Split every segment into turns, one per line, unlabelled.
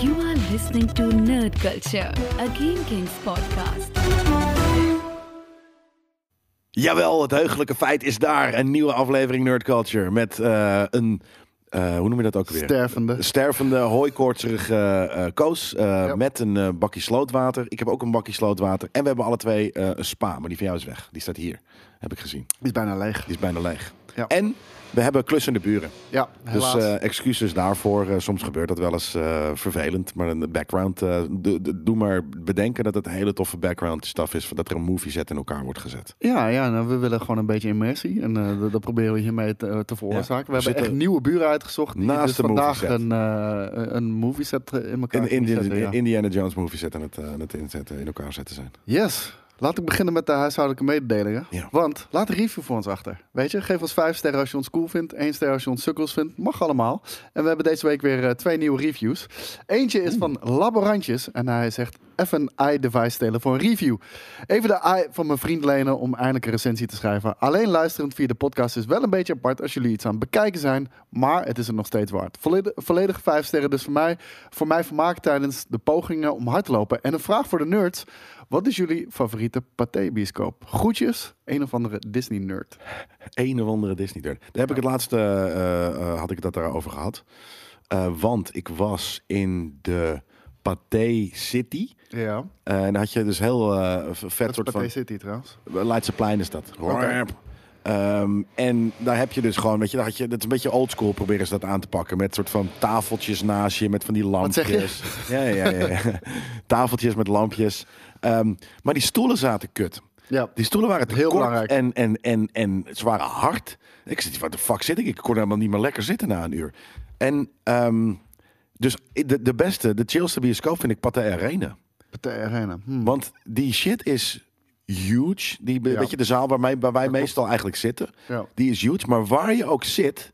You are listening to Nerd Culture, a Game Kings podcast.
Jawel, het heugelijke feit is daar. Een nieuwe aflevering Nerd Culture met eh, een, eh, hoe noem je dat ook weer?
Stervende.
Stervende, hooikoortserige eh, eh, Koos eh, met een eh, bakje slootwater. Ik heb ook een bakje slootwater. En we hebben alle twee eh, een spa, maar die van jou is weg. Die staat hier, heb ik gezien.
Die is bijna leeg.
Die is bijna leeg.
Ja.
En we hebben klussende buren.
Ja, helaas.
Dus eh, excuses daarvoor. Eh, soms gebeurt dat wel eens eh, vervelend. Maar een background. eh, do- do- doe maar bedenken dat het een hele toffe background stuff is. Dat er een movie set in elkaar wordt gezet.
ja, ja nou, we willen gewoon een beetje immersie. En eh, dat, dat proberen we hiermee te, te veroorzaken.
Ja.
We hebben
Zitten
echt nieuwe buren uitgezocht. Die
naast
dus
de
vandaag
movieset.
een, eh een movie set in
In,
elkaar
in,
kunnen
in-
zetten, ja.
Indiana Jones movie set aan het, eh, aan het inzetten, in elkaar zetten zijn.
Yes. Laat ik beginnen met de huishoudelijke mededelingen.
Ja.
Want laat een review voor ons achter. Weet je, geef ons vijf sterren als je ons cool vindt. één ster als je ons sukkels vindt. Mag allemaal. En we hebben deze week weer eh, twee nieuwe reviews. Eentje is van Laborantjes. En hij zegt, even een iDevice stelen voor een review. Even de i van mijn vriend lenen om eindelijk een recensie te schrijven. Alleen luisterend via de podcast is wel een beetje apart als jullie iets aan het bekijken zijn. Maar het is het nog steeds waard. Volledig, volledig vijf sterren dus voor mij. Voor mij vermaak tijdens de pogingen om hard te lopen. En een vraag voor de nerds. Wat is jullie favoriete Pathé-bioscoop? Groetjes, een of andere Disney-nerd.
Een of andere Disney nerd. Daar heb ik het laatste, eh, eh, had ik dat daarover gehad. Eh, want ik was in de Pathé City.
Ja,
Eh, en dan had je dus heel eh, v- vet
dat is
soort van...
Pathé City trouwens.
Leidseplein is dat.
Oké.
Ehm, en daar heb je dus gewoon, weet je, daar had je, dat is een beetje oldschool proberen ze dat aan te pakken. Met soort van tafeltjes naast je, met van die
zeg je?
lampjes. Ja, ja, ja. ja. tafeltjes met lampjes. Ehm, maar die stoelen zaten kut.
Ja.
Die stoelen waren te
Heel
kort
belangrijk.
En, en, en, en ze waren hard. Ik zit, wat de fuck zit ik? Ik kon helemaal niet meer lekker zitten na een uur. En ehm, dus de, de beste, de chillste bioscoop vind ik Pathé Arena.
Pathé Arena. Hmm.
Want die shit is huge. Die, be-
Ja.
Weet je, de zaal waar, mij, waar wij meestal eigenlijk zitten,
Ja.
die is huge. Maar waar je ook zit,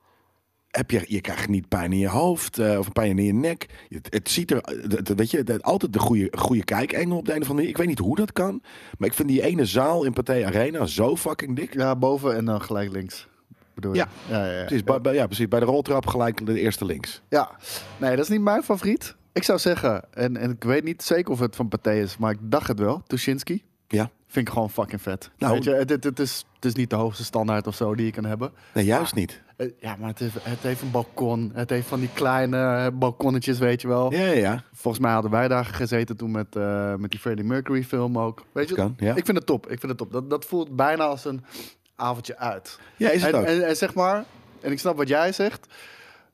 heb je, je krijgt niet pijn in je hoofd eh, of pijn in je nek. Het, het ziet er, het- het- weet je, het- altijd de goede, goede kijkengel op de een of andere manier. Ik weet niet hoe dat kan, maar ik vind die ene zaal in Pathé Arena zo fucking dik.
Ja, boven en dan gelijk links. Bedoel je?
Ja.
Ja, ja, ja.
Precies, bij, bij- ja, precies, bij de roltrap gelijk de eerste links.
Ja. Nee, dat is niet mijn favoriet. Ik zou zeggen, en, en ik weet niet zeker of het van Pathé is, maar ik dacht het wel. Tuschinski.
Ja.
Vind ik gewoon fucking vet.
Nou,
Weet je, het, het, het is, het is niet de hoogste standaard of zo die je kan hebben.
Nee, juist niet.
Eh, Ja, maar het, heeft- het heeft een balkon. Het heeft van die kleine balkonnetjes, weet je wel.
Ja, ja, ja.
Volgens mij hadden wij daar gezeten toen met, eh, met die Freddie Mercury film ook. Weet je,
kan, ja.
ik vind het top. Ik vind het top. Dat, dat voelt bijna als een avondje uit.
Ja, is het
en,
ook.
En, en zeg maar, en ik snap wat jij zegt.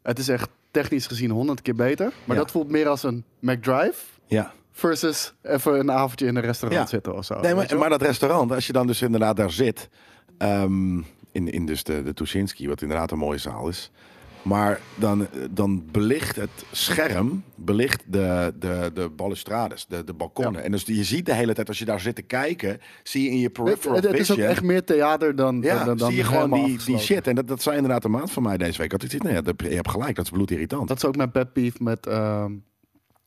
Het is echt technisch gezien honderd keer beter. Maar
Ja.
dat voelt meer als een McDrive
ja.
versus even een avondje in een restaurant
Ja.
zitten of zo.
Nee,
weet je
maar,
wel?
maar dat restaurant, als je dan dus inderdaad daar zit, ehm, in, in dus de, de Tuschinski, wat inderdaad een mooie zaal is. Maar dan, eh, dan belicht het scherm, belicht de, de, de balustrades, de, de balkonnen.
Ja.
En dus die- je ziet de hele tijd, als je daar zit te kijken, zie je in je
het,
peripheral
het- het is ook
vision...
echt meer theater dan,
ja,
dan, dan, dan
zie je gewoon
helemaal
die, die
afgesloten.
shit. En dat, dat zei inderdaad een maand van mij deze week. Dat ik dacht, nee, dat heb je je hebt gelijk, dat is bloedirritant.
Dat is ook mijn pet peeve met, ehm,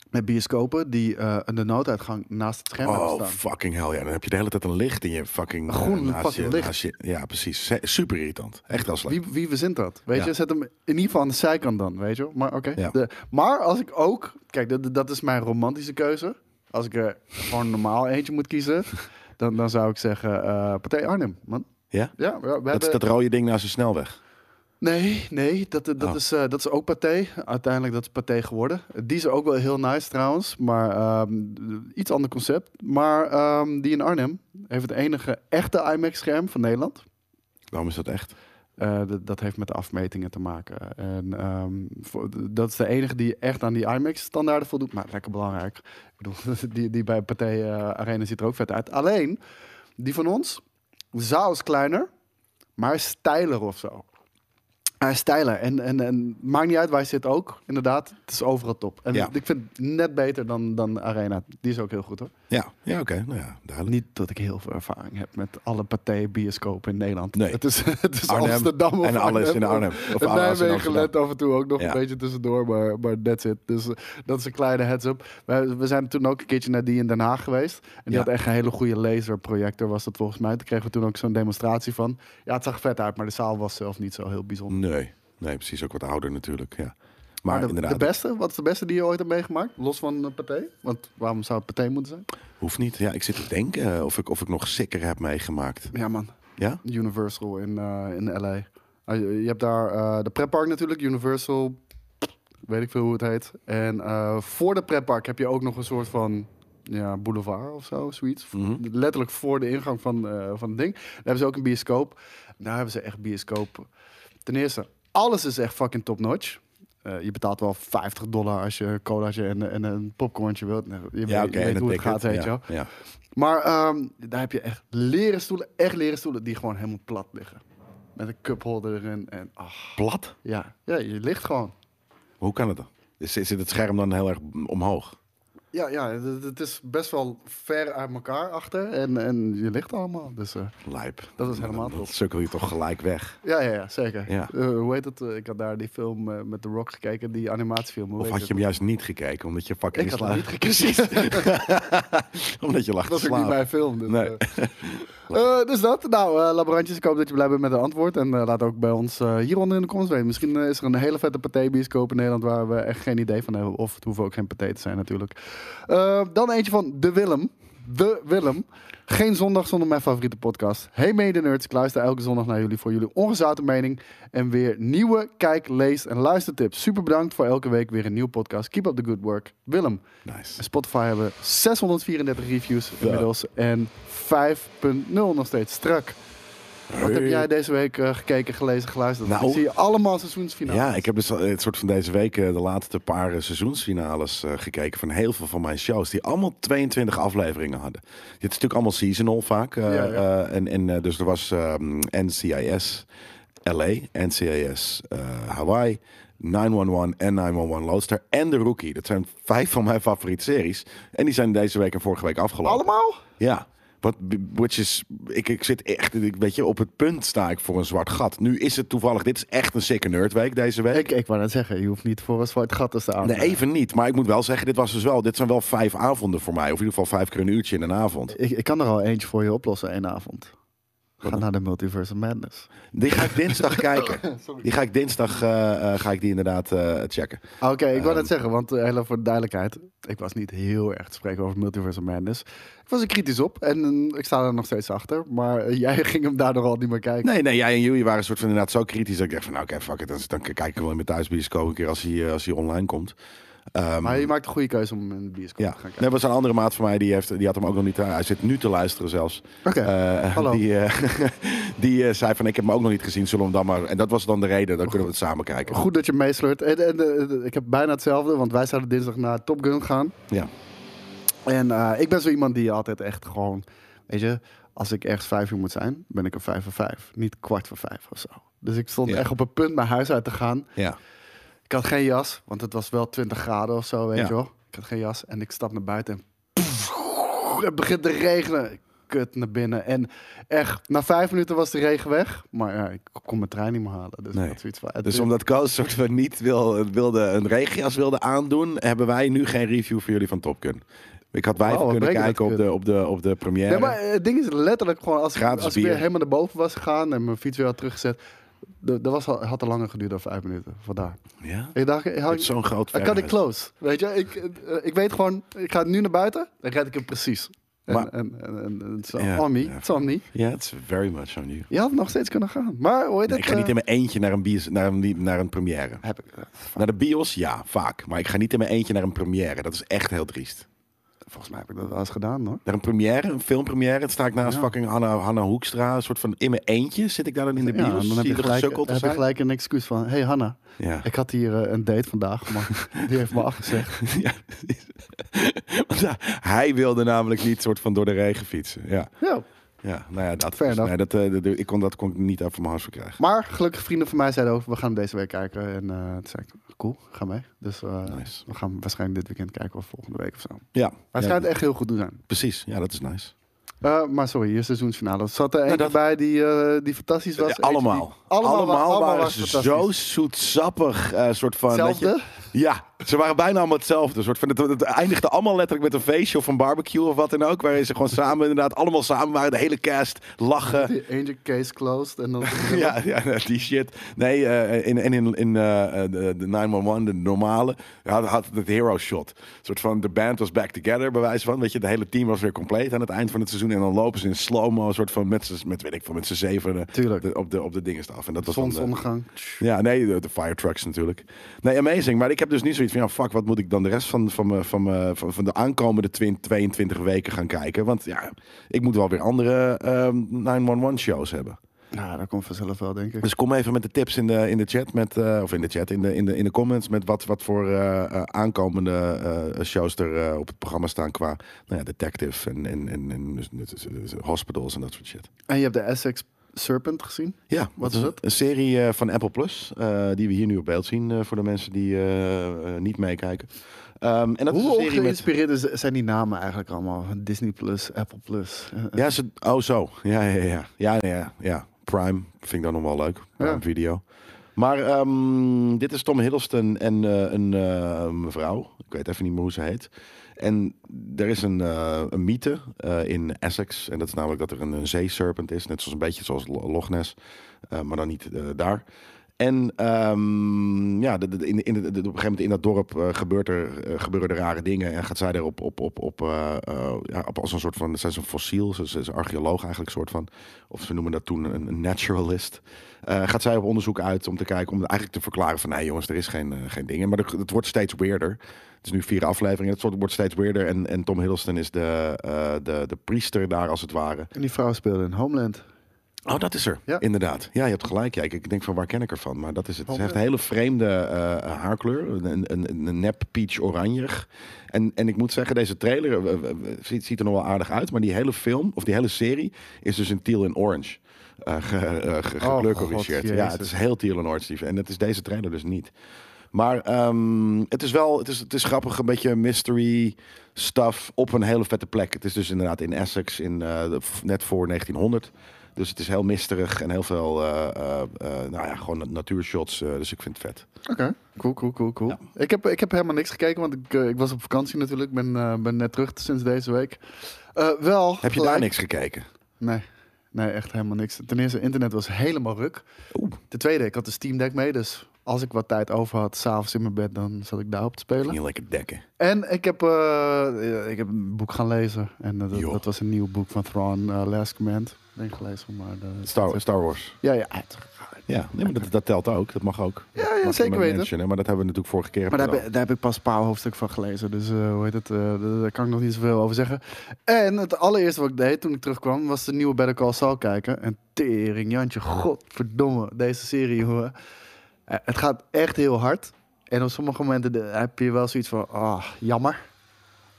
met bioscopen die eh, een de nooduitgang naast het scherm hebben
Oh,
staan.
fucking hell, ja. Dan heb je de hele tijd een licht in je fucking... eh,
groen
naast
fucking
je-
licht.
naast je- Ja, precies. Se- Super irritant. Echt wel slecht.
Wie, wie verzint dat? Weet
Ja.
je, zet hem in ieder geval aan de zijkant dan, weet je wel? Maar oké.
Ja.
De- Maar als ik ook, kijk, dat, dat is mijn romantische keuze. Als ik er gewoon normaal eentje moet kiezen, dan, dan zou ik zeggen eh Partij Arnhem, man.
Ja?
Ja, we, we
Dat
hebben...
is dat rode ding naast de snelweg.
Nee, nee, dat, dat,
Oh.
is, eh, dat is ook Pathé. Uiteindelijk dat is Pathé geworden. Die is ook wel heel nice trouwens, maar ehm, iets ander concept. Maar ehm, die in Arnhem heeft het enige echte IMAX-scherm van Nederland.
Waarom is dat echt?
Eh, d- dat heeft met de afmetingen te maken. En ehm, voor- d- dat is de enige die echt aan die IMAX-standaarden voldoet. Maar lekker belangrijk. Ik bedoel, die, die bij Pathé eh, Arena ziet er ook vet uit. Alleen, die van ons, de zaal is kleiner, maar hij is stijler of zo. Hij is stijler. En, en, en maakt niet uit waar je zit ook. Inderdaad, het is overal top. En
Ja.
ik vind het net beter dan, dan Arena. Die is ook heel goed hoor.
Ja, ja oké. Nou ja, duidelijk.
Niet dat ik heel veel ervaring heb met alle Pathé-bioscopen in Nederland.
Nee.
Het is, het is
Arnhem
Amsterdam of
en alles in Arnhem. Of
en
alles in
Nijmegen
Amsterdam.
let af en toe ook nog
Ja.
een beetje tussendoor, maar, maar that's it. Dus eh, dat is een kleine heads-up. We, we zijn toen ook een keertje naar die in Den Haag geweest. En die
Ja.
had echt een hele goede laserprojector, was dat volgens mij. Daar kregen we toen ook zo'n demonstratie van. Ja, het zag vet uit, maar de zaal was zelf niet zo heel bijzonder.
Nee. Nee, precies. Ook wat ouder natuurlijk. Ja. Mm, Maar
de,
inderdaad,
de beste, wat is de beste die je ooit hebt meegemaakt? Los van eh, Pathé? Want waarom zou het Pathé moeten zijn?
hoeft niet. Ja, ik zit te denken eh, of ik, of ik nog sicker heb meegemaakt.
Ja man,
Ja?
Universal in, eh, in LA. Ah, je, je hebt daar eh, de pretpark natuurlijk, Universal, weet ik veel hoe het heet. En eh, voor de pretpark heb je ook nog een soort van ja, boulevard of zo, zoiets.
Mhm.
Letterlijk voor de ingang van, eh, van het ding. Daar hebben ze ook een bioscoop. Daar hebben ze echt bioscoop. Ten eerste, alles is echt fucking top-notch. Eh, je betaalt wel 50 dollar als je een colaatje en, en een popcornje wilt. Nou, Je weet, je
en
weet
een
hoe
ticket.
het gaat, weet je
ja,
wel.
ja.
Maar ehm, daar heb je echt leren stoelen, echt leren stoelen, die gewoon helemaal plat liggen. Met een cupholder erin en ach,
Plat?
ja. Ja, je ligt gewoon.
Hoe kan het dan? Is- Zit het scherm dan heel erg omhoog?
Ja, ja, het, het is best wel ver uit elkaar achter en, en je ligt allemaal. Dus eh,
Lijp.
Dat is helemaal
Dan
top.
sukkel je toch gelijk weg.
ja, ja, ja, zeker.
Ja.
Eh, hoe heet het? Eh, Ik had daar die film eh, met The Rock gekeken, die animatiefilm. Hoe
Of
heet
had je hem
het?
juist niet gekeken, omdat je fucking
Ik had hem
slaap-
niet gekeken.
Omdat je lag
Dat
te
was
slapen.
ook niet mijn film. Dus,
Nee.
eh. Eh, dus dat. Nou, eh, laborantjes, ik hoop dat je blij bent met het antwoord. En eh, laat ook bij ons eh, hieronder in de comments weten. Misschien eh, is er een hele vette paté-bioscoop in Nederland waar we echt geen idee van hebben. Of het hoeft ook geen paté te zijn natuurlijk. Eh, dan eentje van De Willem. De Willem. Geen zondag zonder mijn favoriete podcast. Hey mede nerds, ik luister elke zondag naar jullie voor jullie ongezouten mening. En weer nieuwe kijk, lees en luistertips. Super bedankt voor elke week weer een nieuwe podcast. Keep up the good work. Willem,
Nice.
Spotify hebben 634 reviews inmiddels en 5.0 nog steeds strak. eh. Wat heb
Hey.
jij deze week eh, gekeken, gelezen, geluisterd?
Nou,
ik zie allemaal seizoensfinales.
Ja, ik heb dus eh, het soort van deze week eh, de laatste paar eh, seizoensfinales eh, gekeken van heel veel van mijn shows. Die allemaal 22 afleveringen hadden. Dit is natuurlijk allemaal seasonal vaak. eh,
Ja, ja.
eh, en, en eh, dus er was ehm, NCIS LA, NCIS eh, Hawaii, 911 en 911 Loadster en The Rookie. Dat zijn vijf van mijn favoriete series. En die zijn deze week en vorige week afgelopen.
Allemaal?
Ja. Wat, which is, ik, ik zit echt, ik, weet je, op het punt sta ik voor een zwart gat. Nu is het toevallig, dit is echt een sikke nerdweek deze week.
Ik, ik wou net zeggen, je hoeft niet voor een zwart gat te staan.
Nee, even niet. Maar ik moet wel zeggen, dit, was dus wel, dit zijn wel vijf avonden voor mij. Of in ieder geval vijf keer een uurtje in een avond.
Ik, ik kan er al eentje voor je oplossen één avond. Ga naar de Multiverse of Madness.
Die ga ik dinsdag kijken. Die ga ik dinsdag eh, eh, ga ik die inderdaad eh, checken.
Ah, Oké, ik
Ehm.
wou net zeggen, want eh, heel even voor de duidelijkheid. Ik was niet heel erg te spreken over Multiverse of Madness. Ik was er kritisch op en eh, ik sta er nog steeds achter. Maar eh, jij ging hem daardoor al niet meer kijken.
Nee, nee, jij en jullie waren een soort van inderdaad zo kritisch. Dat ik dacht van, nou, oké, fuck it. Dan, dan kijk ik wel in mijn thuisbioscoop een keer als hij, eh, als hij online komt. Ehm,
Maar je maakt een goede keuze om hem in de bioscoop
Ja,
te gaan kijken.
nee, was een andere maat van mij, die, heeft, die had hem ook nog niet. eh, Hij zit nu te luisteren zelfs.
Oké,
Eh,
hallo.
Die, eh, die eh, zei van, ik heb hem ook nog niet gezien, zullen we hem dan maar... En dat was dan de reden, dan kunnen we het samen kijken.
Goed dat je meesleurt. En, en, eh, ik heb bijna hetzelfde, want wij zouden dinsdag naar Top Gun gaan.
Ja.
En eh, ik ben zo iemand die altijd echt gewoon, weet je, als ik ergens vijf uur moet zijn, ben ik er vijf voor vijf. Niet kwart voor vijf of zo. Dus ik stond
Ja.
echt op het punt mijn huis uit te gaan.
ja.
Ik had geen jas, want het was wel 20 graden of zo, weet
Ja.
je wel. Ik had geen jas en ik stap naar buiten en poef, het begint te regenen. Kut naar binnen. En echt, na vijf minuten was de regen weg. Maar ja, ik kon mijn trein niet meer halen. Dus,
Nee.
ik had zoiets van, het
Dus
is-
omdat Koos soort van niet wil, wilde een regenjas wilde aandoen, hebben wij nu geen review voor jullie van Top Gun. Ik had wij
Oh, wat
kunnen
breken dat
kijken op
kut.
de, op, de, op de première.
Nee, maar eh, het ding is letterlijk gewoon, als, ik-
Gratis
als ik weer
bier.
helemaal naar boven was gegaan en mijn fiets weer had teruggezet, d- dat was al, had al langer geduurd dan vijf minuten. Vandaar.
Ja?
Ik dacht, ik,
Het is zo'n groot
ik kan ik
verhuis.
close. Weet je, ik, eh, ik weet gewoon, ik ga nu naar buiten, dan red ik hem precies. En,
Maar-
en, en, en- en het is
Ja,
on me,
ja.
it's on me.
Ja, it's very much on you.
Je had nog steeds kunnen gaan. Maar hoe
Nee,
heet het? eh?
ik ga niet in mijn eentje naar een, bios, naar een, naar een première.
Heb ik, eh,
Naar de bios, ja, vaak. Maar ik ga niet in mijn eentje naar een première. Dat is echt heel triest.
volgens mij heb ik dat wel eens gedaan hoor.
Naar een première, een filmpremière. Dan sta ik naast
Ja.
fucking Hanna, Hanna Hoekstra. Een soort van in mijn eentje zit ik daar dan in de bios.
Ja, en dan heb
zie
je,
er
gelijk,
gesukkeld te
heb je
zijn.
gelijk een excuus van, hey Hanna,
Ja.
ik had hier eh, een date vandaag, maar die heeft me afgezegd.
Ja, precies. Want ja, hij wilde namelijk niet soort van door de regen fietsen. Ja,
Ja.
ja nou ja, dat,
Fair
dus,
enough.
nee, dat, eh, dat- ik kon, dat kon ik niet uit van mijn hart verkrijgen.
Maar gelukkig vrienden van mij zeiden ook, we gaan hem deze week kijken. En eh toen zei ik, cool, ga mee. Dus eh,
Nice.
we gaan hem waarschijnlijk dit weekend kijken of volgende week of zo. Maar
Ja,
Hij
ja,
schijnt echt heel goed te zijn.
precies. Ja, dat is nice.
Eh, maar sorry, hier seizoensfinale. Er zat er eentje
Nou, dat-
bij die, eh, die fantastisch
Ja,
was. Eentje die-
allemaal.
allemaal. wa- Allemaal,
allemaal
was
waren ze
fantastisch.
zo zoetsappig. eh soort van, dat je-
Hetzelfde?
Ja, ze waren bijna allemaal hetzelfde. Een soort van, het, het eindigde allemaal letterlijk met een feestje of een barbecue of wat dan ook. Waarin ze gewoon samen, inderdaad, allemaal samen waren. De hele cast, lachen.
Die ene case closed en dan...
Ja, ja, die shit. Nee, eh, in, en in, in eh, eh, de, de 911, de normale, had, had het hero shot. Een soort van, de band was back together, bij wijze van. Weet je, het hele team was weer compleet aan het eind van het seizoen. En dan lopen ze in slow-mo, een soort van, met, z'n- met, weet ik, veel, met z'n zeven
Tuurlijk.
op, de, op de dingen af. En dat was dan eh, de-
Zonsondergang.
ja, nee, de, de fire trucks natuurlijk. Nee, amazing. Maar ik heb dus niet zoiets van, ja, fuck, wat moet ik dan de rest van, van, mijn- van, mijn- van, van de aankomende 20, 22 weken gaan kijken? Want ja, ik moet wel weer andere ehm 911-shows hebben.
Nou, dat komt vanzelf wel, denk ik.
Dus kom even met de tips in de, in de chat, met, eh, of in de chat, in de, in de, in de comments, met wat, wat voor eh, eh, aankomende eh, shows er eh, op het programma staan qua nou ja, detective en, en, en, en dus- dus- dus hospitals en dat soort shit.
En je hebt de Essex Serpent gezien?
Ja, wat,
Wat
is
is
het? Een serie eh, van Apple Plus, eh, die we hier nu op beeld zien eh, voor de mensen die eh, eh, niet meekijken. Ehm, en dat is
Hoe
een serie met...
ongeïnspireerd is- zijn die namen eigenlijk allemaal? Disney Plus, Apple Plus. Eh,
Ja, ze... Oh, zo. Ja, ja, ja. ja, ja, ja, ja. Prime vind ik dan nog wel leuk. Prime
Ja.
Video. Maar ehm, dit is Tom Hiddleston en eh, een eh, mevrouw. Ik weet even niet meer hoe ze heet. En er is een, eh, een mythe eh, in Essex. En dat is namelijk dat er een, een zeeserpent is. Net zoals een beetje zoals Lo- Loch Ness. eh, maar dan niet eh, daar. En ehm, ja, de- de- in, in, de- de- op een gegeven moment in dat dorp eh, gebeurt er, eh, gebeuren er rare dingen. En gaat zij er op, op, op, op, eh, eh, ja, op als een soort van. Zij is een fossiel, ze is, ze is een archeoloog eigenlijk, soort van. Of ze noemen dat toen een, een naturalist. Eh, gaat zij op onderzoek uit om te kijken, om eigenlijk te verklaren van nee jongens, er is geen, eh, geen dingen. Maar er- het wordt steeds weirder. Het is nu vier afleveringen, het soort- wordt steeds weirder. En, en Tom Hiddleston is de, eh, de, de priester daar als het ware.
En die vrouw speelde in Homeland.
Oh, dat is er.
Ja.
Inderdaad. Ja, je hebt gelijk. Ja, ik, ik denk van waar ken ik ervan? Maar dat is het. Ze
Oh,
heeft
ja.
een hele vreemde eh, haarkleur. Een, een, een nep peach oranjig. En, en ik moet zeggen, deze trailer eh, eh, ziet, ziet er nog wel aardig uit. Maar die hele film, of die hele serie, is dus in teal en orange. eh ge, eh, ge-
Oh,
gekleurcorrigeerd.
God,
ja,
Jezus.
het is heel teal en orange. Steve. En dat is deze trailer dus niet. Maar ehm, het is wel, het is, het is grappig, een beetje mystery stuff op een hele vette plek. Het is dus inderdaad in Essex, in, eh, de- f- net voor 1900. Dus het is heel misterig en heel veel, eh, eh, eh, nou ja, gewoon natuurshots. eh, dus ik vind het vet.
Oké, cool, cool, cool, cool. Ik, heb, ik heb helemaal niks gekeken, want ik, eh, ik was op vakantie natuurlijk. Ik ben, eh, ben net terug sinds deze week. Eh, wel.
Heb je
gelijk-
daar niks gekeken?
Nee. Nee, echt helemaal niks. Ten eerste, internet was helemaal ruk.
Oeh.
Ten tweede, ik had de Steam Deck mee, dus als ik wat tijd over had, s'avonds in mijn bed, dan zat ik daarop te spelen.
Niet lekker dekken.
En ik heb, eh, ik heb een boek gaan lezen. En eh, dat,
Joh.
dat was een nieuw boek van Thrawn, eh, Last Command. Ben ik gelezen, maar... de-
Star, Star Wars. Ah,
Ja, ja.
Ja, nee, maar dat, dat telt ook. Dat mag ook.
Ja, ja,
Mag je
zeker
maar
weten.
mentionen, Maar dat hebben we natuurlijk vorige keer
Maar daar
gedaan.
heb, daar heb ik pas een paar hoofdstukken van gelezen. Dus eh, hoe heet het? eh, daar daar kan ik nog niet zoveel over zeggen. En het allereerste wat ik deed toen ik terugkwam, was de nieuwe Better Call Saul kijken. En tering, Jantje, godverdomme, deze serie, hoor. Eh, het gaat echt heel hard. En op sommige momenten de- heb je wel zoiets van, ah, jammer.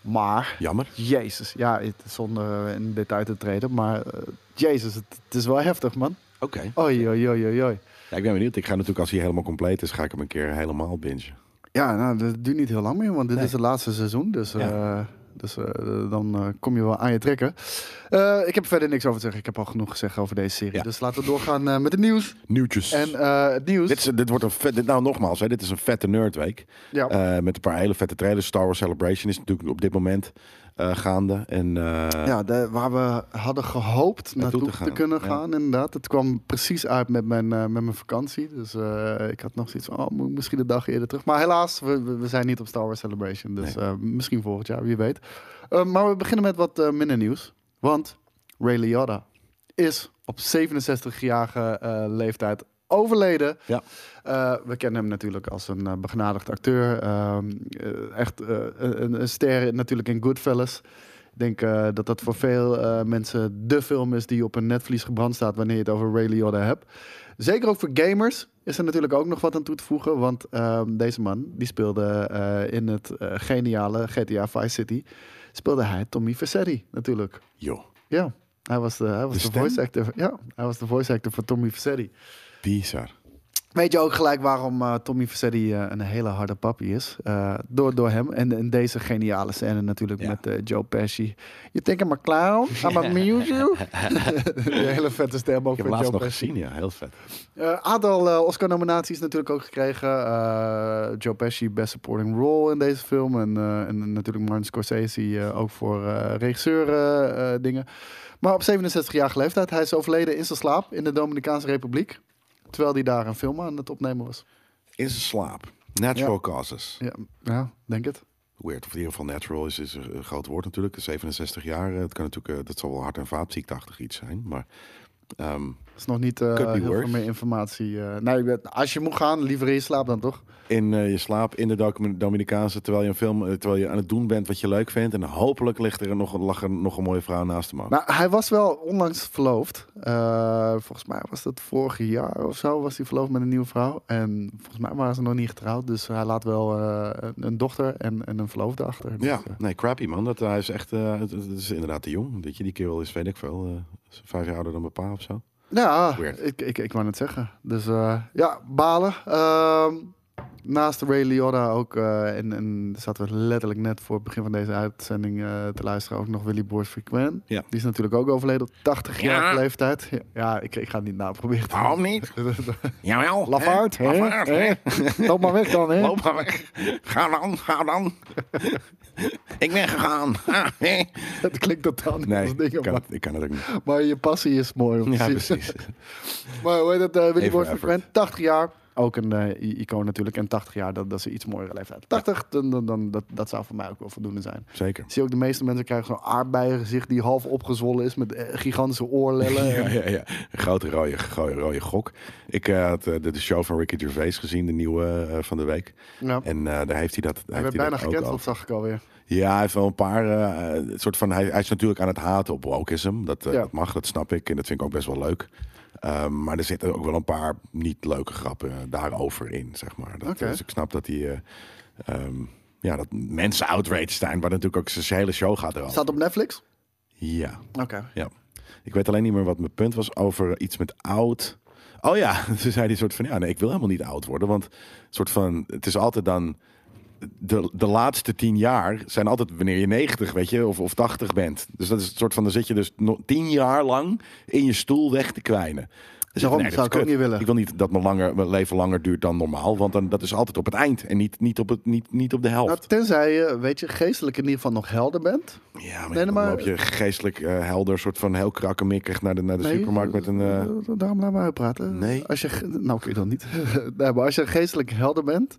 Maar,
Jammer.
jezus. Ja, het- zonder eh, in detail te treden, maar eh, jezus, het, het is wel heftig, man.
Oké.
Oei, oei, oei, oei, oei.
Ja, ik ben benieuwd. Ik ga natuurlijk als hij helemaal compleet is, ga ik hem een keer helemaal bingen.
Ja, nou, dat duurt niet heel lang meer, want dit
Nee.
is het laatste seizoen. Dus,
Ja.
eh, dus eh, dan eh, kom je wel aan je trekken. Eh, ik heb verder niks over te zeggen. Ik heb al genoeg gezegd over deze serie.
Ja.
Dus laten we doorgaan eh, met het nieuws.
Nieuwtjes.
En eh, het nieuws.
Dit, is, dit wordt een vet, dit- nou nogmaals, hè, dit is een vette nerdweek.
ja.
Eh, met een paar hele vette trailers. Star Wars Celebration is natuurlijk op dit moment eh, gaande. En, eh,
ja, de- waar we hadden gehoopt naartoe
te
te,
gaan,
kunnen
ja.
gaan, inderdaad. Het kwam precies uit met mijn, eh, met mijn vakantie. Dus eh, ik had nog zoiets van, oh, moet ik misschien de dag eerder terug. Maar helaas, we, we- we zijn niet op Star Wars Celebration. Dus eh, misschien volgend jaar, wie weet. Eh, maar we beginnen met wat eh, minder nieuws. Want Ray Liotta is op 67-jarige eh, leeftijd overleden.
Ja.
Eh, we kennen hem natuurlijk als een eh, begnadigd acteur. Ehm, eh, echt eh, een, een ster natuurlijk in Goodfellas. Ik denk eh, dat dat voor veel eh, mensen de film is die op een netvlies gebrand staat wanneer je het over Ray Liotta hebt. Zeker ook voor gamers is er natuurlijk ook nog wat aan toe te voegen. Want ehm, deze man die speelde eh, in het eh, geniale GTA Vice City. Speelde hij Tommy Vercetti natuurlijk.
joh,
Ja, hij was de, hij was
De
de,
stem?
voice actor. Ja, hij was de voice actor van Tommy Vercetti.
bizar.
Weet je ook gelijk waarom eh, Tommy Vercetti eh, een hele harde papi is? Eh, door, door hem. En, en deze geniale scène natuurlijk
Ja.
met eh, Joe Pesci. You think I'm a clown? I'm a muse Die hele vette stem ook
Ik heb
van
laatst
Joe
nog
Pesci.
gezien, ja. Heel vet.
Eh, aantal eh, Oscar-nominaties natuurlijk ook gekregen. Eh, Joe Pesci, Best Supporting Role in deze film. En, eh, en natuurlijk Martin Scorsese eh, ook voor regisseur-dingen. maar op 67-jarige leeftijd, hij is overleden in zijn slaap in de Dominicaanse Republiek. Terwijl hij daar een film aan het opnemen was.
In zijn slaap. Natural causes.
Ja, ja denk het.
Weird. Of in ieder geval natural is, is een groot woord natuurlijk. 67 jaar. eh, Het kan natuurlijk, eh, dat zal wel hart- en vaatziekteachtig iets zijn. Maar ehm,
Dat is nog niet eh,
Could be
heel veel
worse.
meer informatie. eh. nee, ik weet- als je moet gaan, liever in je slaap dan toch?
in eh, je slaap in de Domin- Dominicaanse terwijl je een film, eh, terwijl je aan het doen bent wat je leuk vindt. En hopelijk ligt er nog, lag er nog een mooie vrouw naast hem. aan.
Nou, hij was wel onlangs verloofd. Eh, volgens mij was dat vorig jaar of zo, was hij verloofd met een nieuwe vrouw. En volgens mij waren ze nog niet getrouwd. Dus hij laat wel eh, een, een dochter en, en een verloofde achter.
ja,
Dus, eh,
nee, crappy man. Dat, hij is echt, eh, het, het is inderdaad te jong. Weet je, die kerel is, weet ik veel, eh, vijf jaar ouder dan mijn pa of zo.
ja,
Weird.
ik, ik, ik wou net zeggen. Dus eh, ja, balen. Ehm, naast Ray Liotta ook, eh, en, en zaten we letterlijk net voor het begin van deze uitzending eh, te luisteren, ook nog Willy Boers Frequent.
Ja.
Die is natuurlijk ook overleden op 80
Ja.
jaar leeftijd. Ja, Ja, ik, ik ga het niet naproberen.
Waarom niet? Jawel.
Lafaard, hè?
Lafaard, hè?
Loop maar weg dan, hè?
Loop maar weg. Ga dan, ga dan. ik ben gegaan.
Het klinkt totaal niet
nee,
als dingen,
ik kan,
maar,
het, ik kan het ook niet.
maar je passie is mooi. om te
Ja,
zien.
precies.
Maar hoe heet het, eh, Willy
Even
Boys
effort.
Frequent, 80 jaar. Ook een eh, i- icoon natuurlijk. En 80 jaar, dat, dat is een iets mooiere leeftijd. 80, dan, dan, dan, dat, dat zou voor mij ook wel voldoende zijn.
Zeker.
Ik zie ook de meeste mensen krijgen zo'n aardbeiengezicht die half opgezwollen is met eh, gigantische oorlellen.
Ja, ja, ja. Een grote rode, rode, rode gok. Ik eh, had eh, de, de show van Ricky Gervais gezien, de nieuwe eh, van de week.
Ja.
En eh, daar heeft hij dat.
Hij
heeft
werd
hij
bijna
dat ook
gecanceld,
over.
zag ik alweer.
Ja, hij heeft wel een paar. eh, eh, soort van, hij, hij is natuurlijk aan het haten op wokeism. Dat, eh,
Ja.
dat mag, dat snap ik. En dat vind ik ook best wel leuk. Ehm, maar er zitten ook wel een paar niet leuke grappen eh, daarover in, zeg maar. Dat,
Oké.
Dus ik snap dat hij. eh, ehm, ja, dat mensen outraged zijn, maar natuurlijk ook zijn hele show gaat erover.
Staat op Netflix?
Ja.
Oké.
Ja. Ik weet alleen niet meer wat mijn punt was over iets met oud. Oh ja, toen zei hij soort van, ja, nee, ik wil helemaal niet oud worden. Want soort van, het is altijd dan, de, de laatste tien jaar zijn altijd wanneer je 90, weet je, of, of 80 bent. Dus dat is het soort van, dan zit je dus nog tien jaar lang in je stoel weg te kwijnen. Dus
Daarom
dat is
zou ik ook
kut.
niet willen.
Ik wil niet dat mijn, langer, mijn leven langer duurt dan normaal, want dan, dat is altijd op het eind en niet, niet, op, het, niet, niet op de
Nou,
helft.
tenzij je, weet je, geestelijk in ieder geval nog helder bent.
Ja, maar,
nee,
dan
maar-
loop je geestelijk eh, helder, soort van heel krakkemikkig naar de, naar de
Nee,
supermarkt met een... eh,
eh, Daarom laat me uitpraten.
Nee.
Als je, ge- nou, kun je dan niet. nee, maar als je geestelijk helder bent.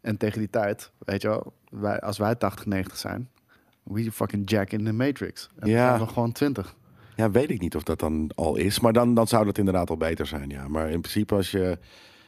En tegen die tijd, weet je wel, wij, als wij 80, 90 zijn. We fucking jack in the matrix. En
Ja.
dan zijn we gewoon 20.
Ja, weet ik niet of dat dan al is. Maar dan, dan zou dat inderdaad al beter zijn, ja. Maar in principe als je...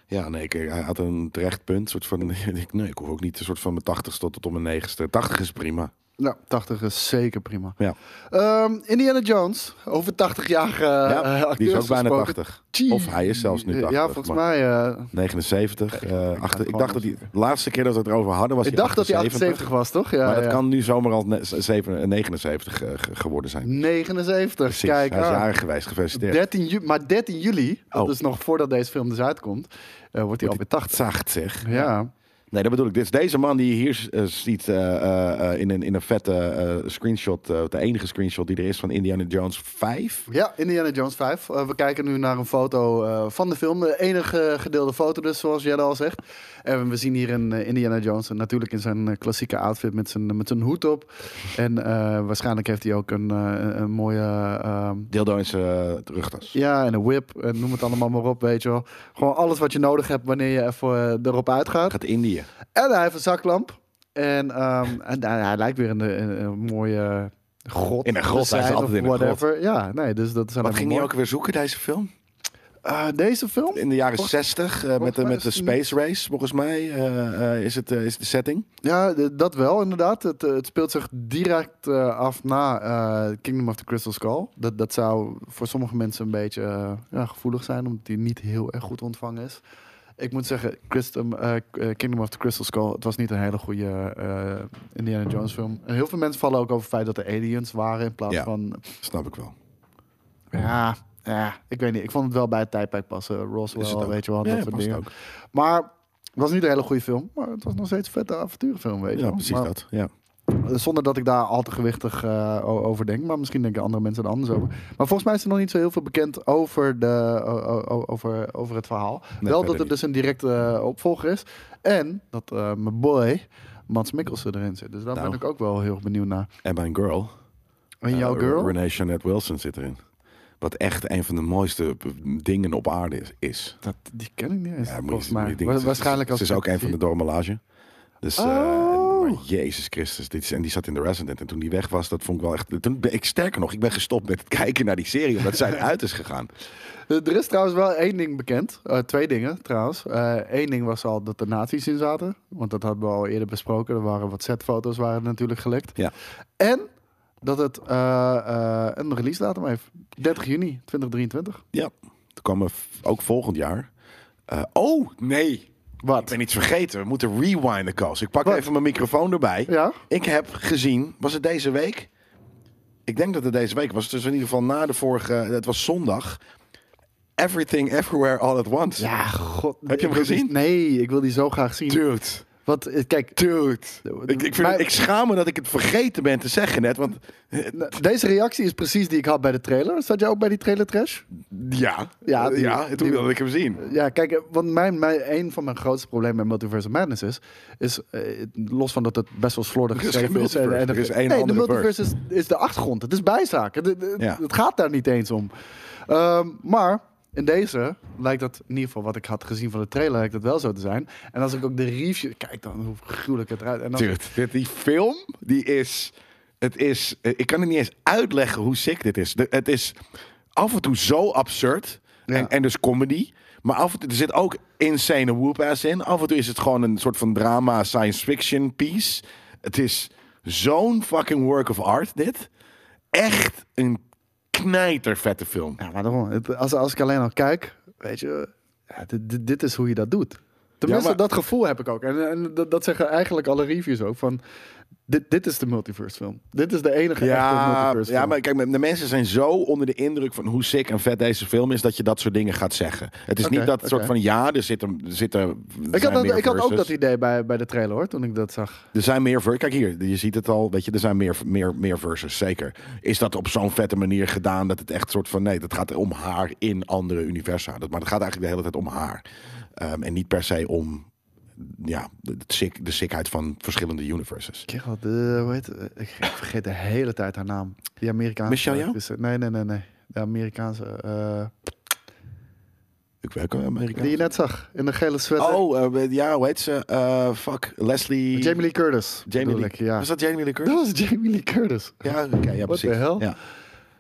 Ja, nee, ik, hij had een terecht punt. Soort van, ik denk, nee, ik hoef ook niet een soort van mijn tachtigste tot op mijn negenste. Tachtig is prima.
Nou, 80 is zeker prima.
Ja,
Ehm, Indiana Jones, over 80 jaar. eh eh,
ja die is
acteurs
ook bijna
gesproken.
tachtig.
Gee.
Of hij is zelfs nu tachtig.
Ja, volgens
maar
mij. eh,
79. eh, achter- ik,
gewoon
dacht dat die de laatste keer dat we het erover hadden was
ik dacht dat hij 78 was, toch? Ja,
Maar dat
ja.
kan nu zomaar al ne- zeven- 79 eh, ge- geworden zijn.
79,
Precies,
kijk.
hij is
aan.
jarig geweest, gefeliciteerd.
13 ju- maar 13 juli, dat
Oh.
is nog voordat deze film dus uitkomt, eh, wordt hij alweer 80.
Zacht zeg.
Ja.
Nee, dat bedoel ik. Dit is deze man die je hier eh, ziet eh, eh, eh, in, een, in een vette eh, screenshot. eh, de enige screenshot die er is van Indiana Jones 5.
ja, Indiana Jones 5. Eh, we kijken nu naar een foto eh, van de film. De enige gedeelde foto dus, zoals Jelle al zegt. En we zien hier een eh, Indiana Jones eh, natuurlijk in zijn eh, klassieke outfit met zijn, met zijn hoed op. En eh, waarschijnlijk heeft hij ook een, eh, een mooie... ehm,
Dildo in zijn eh, rugtas.
ja, en een whip, en noem het allemaal maar op, weet je wel. Gewoon alles wat je nodig hebt wanneer je even eh, erop uitgaat.
Gaat Indië.
En hij heeft een zaklamp. En, ehm, en hij, hij lijkt weer in de- in een, mooie grot.
In een grot,
te
hij is
zijn
altijd
of
in een grot.
whatever. Ja, nee, dus dat zijn
Wat ging hij ook weer zoeken, deze film?
Eh, deze film?
In de jaren
Volgens-
60, eh, met,
volgens
de,
mij
met de
is het
Space Race, volgens mij, eh, eh, is, het, eh, is de setting.
Ja, d- dat wel inderdaad. Het, eh, het speelt zich direct eh, af na eh, Kingdom of the Crystal Skull. Dat, dat zou voor sommige mensen een beetje eh, ja, gevoelig zijn, omdat die niet heel erg goed ontvangen is. Ik moet zeggen, Christum, eh, eh, Kingdom of the Crystal Skull, het was niet een hele goede eh, Indiana Jones film. En heel veel mensen vallen ook over het feit dat er aliens waren in plaats
Ja.
van
Snap ik wel.
Ja, ja, ik weet niet. Ik vond het wel bij het tijdperk passen.
Is het
Roswell,
ook.
weet je wel,
Ja,
dat soort
past
dingen.
ook.
Maar het was niet een hele goede film. Maar het was nog steeds een vette avonturenfilm, weet je
Ja,
wel.
precies
Maar-
dat. Ja.
Zonder dat ik daar al te gewichtig eh, o- over denk. Maar misschien denken andere mensen er anders over. Maar volgens mij is er nog niet zo heel veel bekend over, de, o- o- o- over, over het verhaal. Wel
verder
dat er
niet.
dus een directe eh, opvolger is. En dat eh, mijn boy Mats Mikkelsen erin zit. Dus daar
Nou.
ben ik ook wel heel erg benieuwd naar.
En mijn girl.
En jouw
eh,
girl?
Renee Jeanette Wilson zit erin. Wat echt een van de mooiste p- dingen op aide is. is.
dat, die ken ik niet eens,
moet je-
volgens
moet je
mij.
denken,
Wa-
ze-
Waarschijnlijk als
Ze is ook een van de dormelage. Dus, eh,
Oh.
maar Jezus Christus. Dit is, en die zat in The Resident. En toen die weg was, dat vond ik wel echt... Toen ben ik, sterker nog, ik ben gestopt met het kijken naar die serie. Omdat zij eruit is gegaan.
Eh, Er is trouwens wel één ding bekend. Eh, twee dingen trouwens. Eén ding was al dat er nazi's in zaten. Want dat hadden we al eerder besproken. Er waren wat setfoto's waren natuurlijk gelekt.
Ja.
En dat het eh, eh, een release datum heeft. 30 juni 2023.
Ja. Toen kwam er v- ook volgend jaar... eh, oh, nee. Ik
Wat?
ben iets vergeten. We moeten rewinden, Koos. Ik pak
Wat?
even mijn microfoon erbij.
Ja?
Ik heb gezien, was het deze week? Ik denk dat het deze week was. Dus in ieder geval na de vorige, het was zondag. Everything, everywhere, all at once.
Ja, god.
Heb je hem
Ik wil die-
gezien?
nee, ik wil die zo graag zien.
Dude,
Want eh, kijk,
dude. Ik, ik, vind,
Mijn-
het- ik schaam me dat ik het vergeten ben te zeggen net. Want eh,
deze reactie is precies die ik had bij de trailer. Zat jij ook bij die trailer trash?
ja,
Ja,
ja,
die-
ja toen
die-
wilde ik hem zien.
Ja, kijk, eh, want mijn, mijn, een van mijn grootste problemen met Multiverse of Madness is, is eh, los van dat het best wel slordig
Er is
geschreven
geen
is. En, en,
multiverse, er is één
nee, de
andere
multiverse is, is de achtergrond. Het is bijzaak. Het, het- het-
Ja.
het gaat daar niet eens om. Ehm, maar in deze lijkt dat, in ieder geval wat ik had gezien van de trailer, lijkt dat wel zo te zijn. En als ik ook de review... Kijk dan hoe gruwelijk het eruit... En dan,
Dude, dit, die film, die is... Het is... eh, Ik kan het niet eens uitleggen hoe sick dit is. De- het is af en toe zo absurd.
Ja.
En, en dus comedy. Maar af en toe, er zit ook insane whoop-ass in. Af en toe is het gewoon een soort van drama, science fiction piece. Het is zo'n fucking work of art, dit. Echt een knijtervette film.
Ja, maar daarom, het- als, als ik alleen al kijk, weet je, ja, dit, dit, dit is hoe je dat doet. Tenminste,
maar-
dat gevoel heb ik ook. En, en dat, dat zeggen eigenlijk alle reviews ook, van dit, dit is de multiverse film. Dit is de enige echte
Ja,
multiverse
ja,
film.
maar kijk, de mensen zijn zo onder de indruk van hoe sick en vet deze film is dat je dat soort dingen gaat zeggen. Het is
Oké,
niet dat
oké.
soort van ja, er zitten. Er zitten
Ik had, dat- ik had ook dat
die.
idee bij, bij de trailer hoor, toen ik dat zag.
Er zijn meer ver- Kijk hier, je ziet het al. Weet je, er zijn meer, meer, meer verses, zeker. Is dat op zo'n vette manier gedaan dat het echt soort van nee, dat gaat om haar in andere universa. Dat, maar het gaat eigenlijk de hele tijd om haar. Ehm, en niet per se om ja, de, de, sick, de sickheid van verschillende universes.
Kerel, de, eh, hoe heet het? Ik vergeet de hele tijd haar naam. Die Amerikaanse.
Michelle Yeoh?
actrice. Nee, nee, nee, nee. De Amerikaanse. eh,
Ik werk wel Amerika.
die je net zag, in de gele sweater.
Oh, eh, ja, hoe heet ze? Eh, fuck, Leslie.
Jamie Lee Curtis.
Jamie
bedoel
Lee-
ik, ja.
Was dat Jamie Lee Curtis?
Dat was Jamie Lee Curtis.
Ja, oké, ja
What the
precies.
hell?
Ja.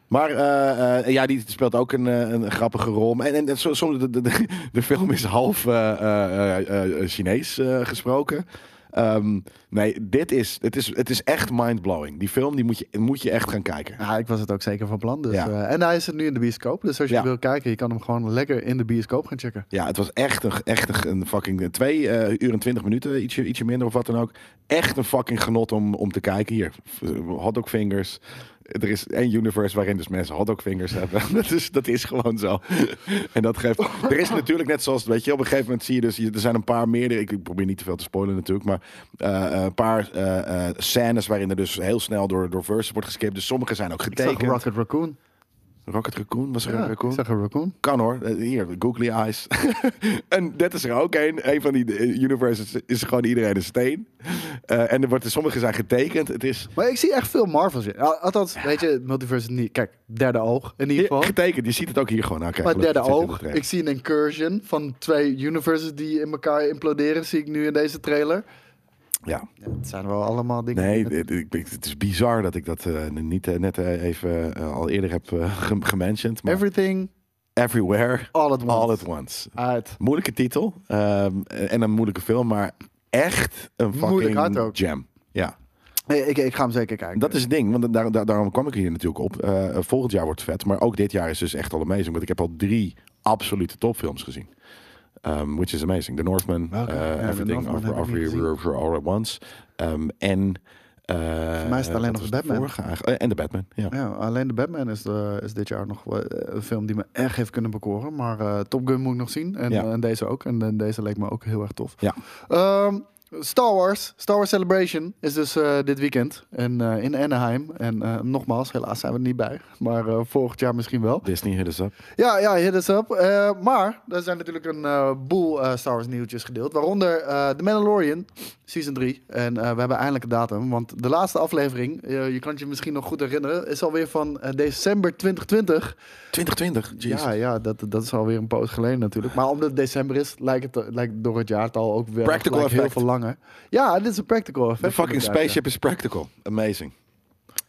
Maar eh, eh, ja, die speelt ook een, eh, een grappige rol. En, en, en so- soms de, de, de- de film is half eh, eh, eh, eh, Chinees eh, gesproken. Ehm, nee, dit is, het is, het is echt mindblowing. Die film die moet, je, moet je echt gaan kijken.
Ja, ik was het ook zeker van plan. Dus,
Ja.
eh, en hij is er nu in de bioscoop. Dus als je
Ja.
wil kijken, je kan hem gewoon lekker in de bioscoop gaan checken.
Ja, het was echt een, echt een, een fucking twee eh, uur en twintig minuten, ietsje, ietsje minder of wat dan ook. Echt een fucking genot om, om te kijken. Hier, eh, hotdog fingers. Er is één universe waarin dus mensen hotdog fingers hebben. Dat is, dat is gewoon zo. En dat geeft... Er is natuurlijk net zoals, weet je, op een gegeven moment zie je dus... je- Er zijn een paar meerdere... Ik probeer niet te veel te spoilen natuurlijk, maar... eh, een paar eh, eh, scènes waarin er dus heel snel door, door verses wordt geskipt. Dus sommige zijn ook
Ik zag
getekend.
Rocket Raccoon.
Rocket Raccoon, was er
Ja,
een Raccoon?
Ik zag een raccoon.
Kan hoor. Eh, Hier, googly eyes. en dat is er ook een. Een van die eh, universes is gewoon iedereen een steen. Eh, en er wordt, sommige zijn getekend. Het is
Maar ik zie echt veel Marvels in. Al- Althans, weet je, het multiverse is niet... Kijk, derde oog in ieder
hier,
geval.
getekend. Je ziet het ook hier gewoon. Nou, kijk,
Maar derde
gelukkig zit het in de
oog.
trailer.
Ik zie een incursion van twee universes die in elkaar imploderen. Zie ik nu in deze trailer.
Ja.
Ja, het zijn wel allemaal dingen. die
Nee,
met-
dit- ik- ik- het is bizar dat ik dat eh, niet eh, net eh, even eh, al eerder heb eh, gem- gementiond. Maar
Everything,
Everywhere,
all at once.
All at Once.
Uit.
Moeilijke titel ehm, en een moeilijke film, maar echt een fucking
Moeilijk hard ook.
jam. Ja.
Nee, ik, ik ga hem zeker kijken.
Dat is het ding, want daar, daar- daarom kwam ik hier natuurlijk op. Eh, volgend jaar wordt vet, maar ook dit jaar is dus echt al amazing. Want ik heb al drie absolute topfilms gezien. Ehm, which is amazing. The Northman,
Welke?
eh,
Ja, The
Everything
Northman
Over
heb ik niet
Over All At Once. Ehm, en
Voor mij is het alleen nog de Batman.
eh, en de Batman, ja.
Ja, alleen de Batman is, eh, is dit jaar nog wel, eh, een film die me erg heeft kunnen bekoren. Maar eh, Top Gun moet ik nog zien. En,
Ja.
eh, en deze ook. En, eh, deze leek me ook heel erg tof.
Ja.
Ehm, Star Wars, Star Wars Celebration is dus eh, dit weekend en, eh, in Anaheim. En eh, nogmaals, helaas zijn we er niet bij. Maar eh, volgend jaar misschien wel.
Disney hit us up.
Ja, ja, hit us up. Eh, maar er zijn natuurlijk een eh, boel eh, Star Wars nieuwtjes gedeeld. Waaronder eh The Mandalorian, season 3. En eh, we hebben eindelijk een datum. Want de laatste aflevering, eh, je kan het je misschien nog goed herinneren, is alweer van eh, december 2020.
2020, jeez.
Ja, ja dat, dat is alweer een poos geleden natuurlijk. Maar omdat het december is, lijkt het lijkt door het jaartal ook weer
Practical
gelijk heel
effect.
veel langer. Ja, dit is een practical effect.
The fucking
inderdaad, ja.
spaceship is practical. Amazing.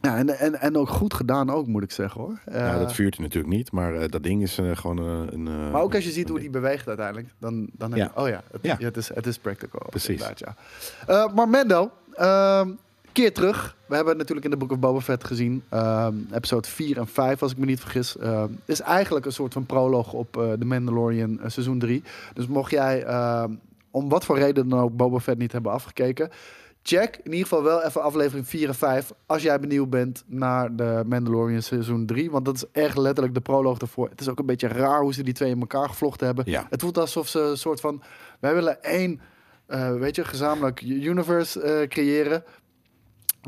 Ja, en, en, en ook goed gedaan ook, moet ik zeggen hoor.
ja,
Eh,
Nou, dat vuurt hij natuurlijk niet, maar eh, dat ding is eh, gewoon eh, een... eh,
Maar ook als je ziet hoe die beweegt uiteindelijk, dan, dan heb
Ja.
je, oh ja, het,
Ja.
ja, het, is, het is practical.
Precies.
inderdaad, Ja. Eh, maar Mendo, ehm, keer terug. We hebben het natuurlijk in de Book of Boba Fett gezien. ehm, episode 4 en 5, als ik me niet vergis. ehm, is eigenlijk een soort van proloog op eh The Mandalorian eh, seizoen 3. Dus mocht jij ehm, om wat voor reden dan ook Boba Fett niet hebben afgekeken... Check in ieder geval wel even aflevering 4 en 5 als jij benieuwd bent naar de Mandalorian seizoen 3. Want dat is echt letterlijk de proloog ervoor. Het is ook een beetje raar hoe ze die twee in elkaar gevlochten hebben.
Ja.
Het voelt alsof ze een soort van... Wij willen één, eh, weet je, gezamenlijk universe eh, creëren.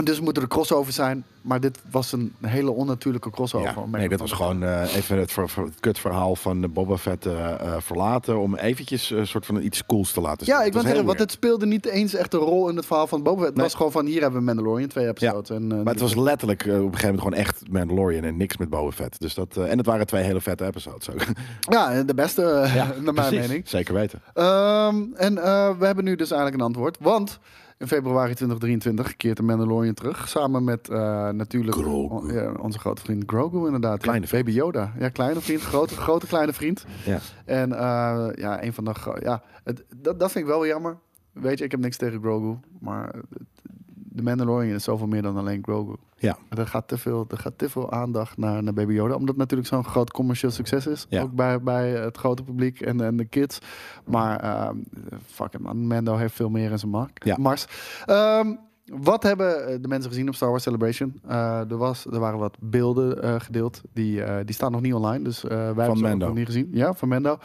Dus moeten er crossovers zijn. Maar dit was een hele onnatuurlijke crossover.
Ja,
om
nee,
een
dat
of
was
andere-
gewoon eh, even het, ver, ver- het kutverhaal van eh, Boba Fett eh, eh, verlaten... om eventjes een soort van iets cools te laten zien.
Ja, ik
Het
wil
was heel
zeggen, want
weird.
het speelde niet eens echt een rol in het verhaal van Boba Fett. Het
Nee.
was gewoon van, hier hebben we Mandalorian, twee episodes. En, eh,
Maar het was letterlijk eh, op een gegeven moment gewoon echt Mandalorian... en niks met Boba Fett. Dus dat, eh, en het waren twee hele vette episodes ook.
Ja, de beste, eh, naar mijn
Precies,
mening.
Zeker weten.
Ehm, en eh, we hebben nu dus eigenlijk een antwoord. Want in februari 2023 keert de Mandalorian terug. Samen met eh, natuurlijk
Grogu.
on- ja, onze grote vriend Grogu inderdaad.
Kleine
ja, Baby Yoda. Ja, kleine vriend. Grote, grote kleine vriend.
Ja.
En eh, ja, een van de... gro- Ja, het, dat, dat vind ik wel jammer. Weet je, ik heb niks tegen Grogu. Maar het- de Mandalorian is zoveel meer dan alleen Grogu.
Ja.
Er gaat te veel, er gaat te veel aandacht naar, naar Baby Yoda. Omdat het natuurlijk zo'n groot commercieel succes is.
Ja.
Ook bij, bij het grote publiek en, en de kids. Maar ehm fuck it man, Mando heeft veel meer in zijn mark,
Ja.
mars. Ehm, wat hebben eh, de mensen gezien op Star Wars Celebration? Eh, er, was, er waren wat beelden eh, gedeeld. Die, eh, die staan nog niet online. Dus eh, wij hebben ze ook
Mando.
nog niet gezien. Ja, van Mando.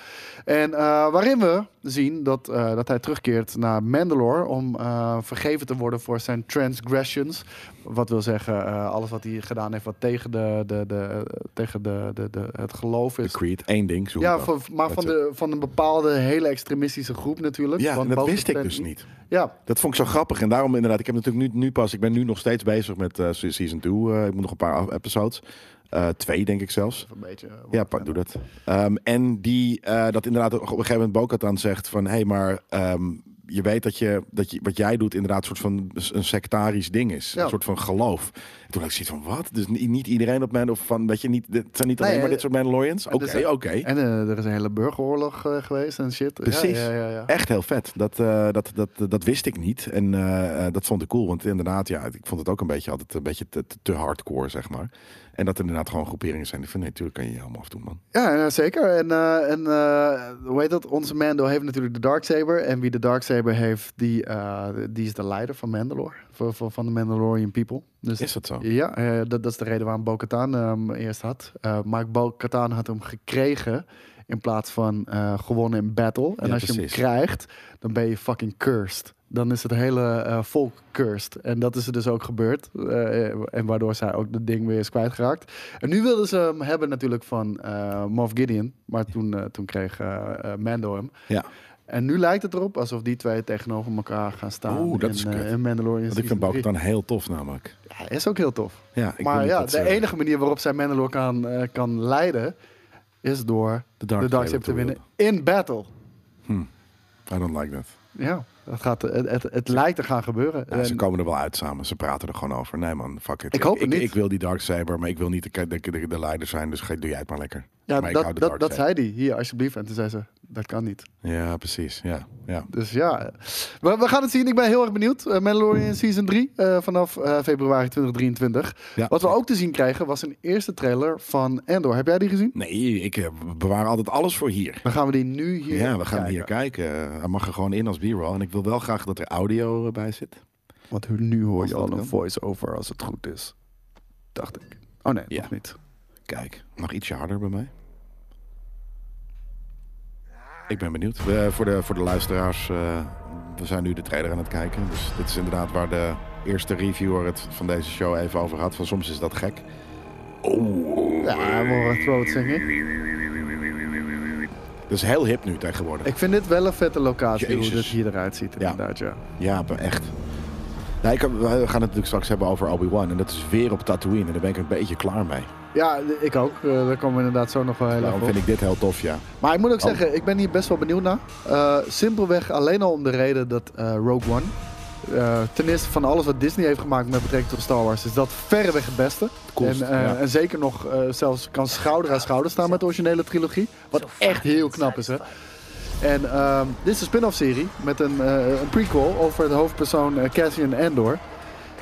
En eh, waarin we zien dat, eh, dat hij terugkeert naar Mandalore om eh, vergeven te worden voor zijn transgressions. Wat wil zeggen, eh, alles wat hij gedaan heeft wat tegen, de, de, de, tegen de, de, de, het geloof
De
is.
Creed, één ding. zo
Dus- Ja,
goed
van,
ook.
maar van,
That's it.
de, van een bepaalde hele extremistische groep natuurlijk.
Ja,
Want
en dat
Boba
wist ik
Fett-
dus niet.
Ja,
Dat vond ik zo grappig. En daarom inderdaad, ik heb natuurlijk nu, nu pas, ik ben nu nog steeds bezig met eh, se- season 2. eh, ik moet nog een paar af- episodes. Eh, twee, denk ik zelfs.
een beetje. eh,
Ja, pa- doe dat. Ehm, en die, eh, dat inderdaad op een gegeven moment Bokatan zegt van... hé, hey, maar ehm, je weet dat, je, dat je, wat jij doet inderdaad een soort van een sectarisch ding is.
Ja.
Een soort van geloof. En toen had ik zoiets van, wat? Dus ni- niet iedereen op mijn... Of van, weet je, niet, dit zijn niet alleen
Nee,
maar
eh,
dit soort Mandalorians? Oké,
dus dat-
oké.
En eh, er is een hele burgeroorlog eh, geweest en shit. Ja,
Precies.
Ja, ja, ja.
Echt heel vet. Dat, eh, dat, dat, dat wist ik niet. En eh, eh, dat vond ik cool. Want inderdaad, ja, ik vond het ook een beetje altijd een beetje te, te- te hardcore, zeg maar. En dat er inderdaad gewoon groeperingen zijn. Ik vind, nee, natuurlijk kan je je helemaal afdoen, man.
Ja, ja, zeker. En, eh, en eh, hoe heet dat? Onze Mando heeft natuurlijk de Darksaber. En wie de Darksaber heeft, die, eh, die is de leider van Mandalore. Van, van, van de Mandalorian people. Dus
Is dat zo?
Ja, eh, dat, dat is de reden waarom Bo-Katan eh, hem eerst had. Eh, maar Bo-Katan had hem gekregen in plaats van eh, gewonnen in battle. En
Ja,
als je hem
precies.
krijgt, dan ben je fucking cursed. Dan is het hele eh, volk cursed. En dat is er dus ook gebeurd. Eh, eh, en waardoor zij ook dat ding weer is kwijtgeraakt. En nu wilden ze hem hebben natuurlijk van eh Moff Gideon. Maar toen, eh, toen kreeg eh, eh, Mando hem.
Ja.
En nu lijkt het erop alsof die twee tegenover elkaar gaan staan.
Oeh, dat is
in, eh,
kut.
in Mandalorian.
Want ik vind
Season drie.
Bokatan heel tof, namelijk.
Ja, is ook heel tof.
Ja, ik wil
Maar
niet
ja,
dat
de
ze-
enige manier waarop zij Mandalore kan, eh, kan leiden... is door
de
de
Dark
Darksaber te winnen in battle.
I don't like that.
Ja, dat gaat, het, het, het lijkt te gaan gebeuren.
Ja, ze
En-
komen er wel uit samen. Ze praten er gewoon over. Nee, man, fuck it.
Ik hoop het
ik,
niet.
Ik wil die Darksaber, maar ik wil niet de, de, de, de leider zijn. Dus ge- doe jij het maar lekker.
ja,
maar ik hou
dat,
de
dat, dat
Darksaber.
zei hij. Hier, alsjeblieft. En toen zei ze, dat kan niet.
Ja, precies. Ja, ja.
Dus ja, we, we gaan het zien. Ik ben heel erg benieuwd. Eh,
Hmm.
Mandalorian Season 3 eh, vanaf eh, februari 2023.
ja.
Wat we ook te zien krijgen was een eerste trailer van Endor. Heb jij die gezien?
Nee, ik eh, bewaar altijd alles voor hier.
Dan gaan we die nu hier
ja, we gaan
kijken.
hier kijken. Hij mag er gewoon in als b-roll. En ik wil wel graag dat er audio eh, bij zit.
Want hu- nu hoor
Als
je
dat
al een
kan.
voice-over als het goed is. Dacht ik. Oh nee,
Ja.
nog niet.
Kijk, nog ietsje harder bij mij. Ik ben benieuwd. We, eh, voor, de, voor de luisteraars, eh, we zijn nu de trailer aan het kijken. Dus dit is inderdaad waar de eerste reviewer het van deze show even over had. Van soms is dat gek. Oh,
Ja, we throat zingen.
dat is heel hip nu tegenwoordig.
Ik vind dit wel een vette locatie, hoe
Jezus.
dit hier eruit ziet
Ja.
inderdaad, ja.
Ja, maar echt. Nou, ik, heb- we gaan het natuurlijk straks hebben over Obi-Wan. En dat is weer op Tatooine. En daar ben ik een beetje klaar mee.
Ja, ik ook. Eh, daar komen we inderdaad zo nog wel heel erg
Daarom
op.
vind ik dit heel tof, ja.
Maar ik moet ook
Oh.
zeggen, ik ben hier best wel benieuwd naar. Eh, simpelweg alleen al om de reden dat eh, Rogue One... eh, ten eerste van alles wat Disney heeft gemaakt met betrekking tot Star Wars... is dat verreweg het beste.
Coolst,
en, eh,
ja.
en zeker nog eh, zelfs kan schouder aan schouder staan met de originele trilogie. Wat echt heel knap is, hè. En ehm, dit is een spin-off serie met een, eh, een prequel over de hoofdpersoon eh, Cassian Andor.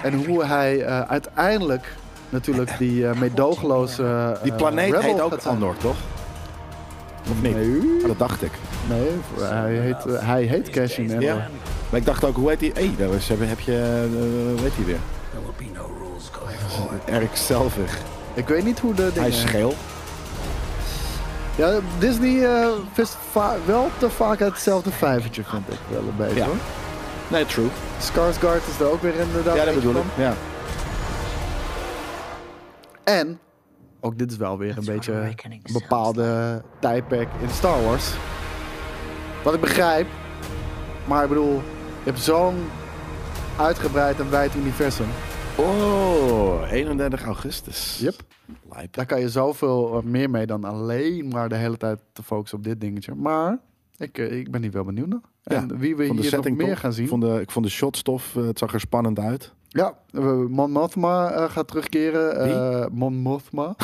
En hoe hij eh, uiteindelijk natuurlijk die eh meedogenloze... eh,
Die planeet
rebel
heet ook
gaat zijn.
Andor, toch? Of niet?
Nee.
Ah, dat dacht ik.
Nee, hij heet, eh, hij heet Cassian Andor.
Ja. eh, Maar ik dacht ook, hoe heet die? Hé, daar is, heb heb je, eh, hoe heet die weer?
There will be no rules going forward.
Eric Selvig.
Ik weet niet hoe de
Hij
dingen...
is geel.
ja, Disney eh vist va- wel te vaak uit hetzelfde vijvertje, vind ik wel een beetje.
Ja. Oh,
hoor.
Nee, true.
Skarsgård is er ook weer inderdaad
Ja, dat
eentje
bedoel ik.
van.
Ja.
En, ook dit is wel weer een
what
beetje een
awakening sounds
bepaalde tijdperk in Star Wars. Wat ik begrijp, maar ik bedoel, je hebt zo'n uitgebreid en wijd universum.
Oh, 31 augustus.
Yep.
Lijp.
Daar kan je zoveel eh, meer mee dan alleen maar de hele tijd te focussen op dit dingetje. Maar ik, eh, ik ben hier wel benieuwd naar. En
Ja,
wie we
Vond de
hier nog
setting
meer
tof.
gaan zien.
Ik vond de, ik vond de shotstof, eh, het zag er spannend uit.
Ja, eh, Mon Mothma eh, gaat terugkeren.
Wie?
Eh, Mon Mothma.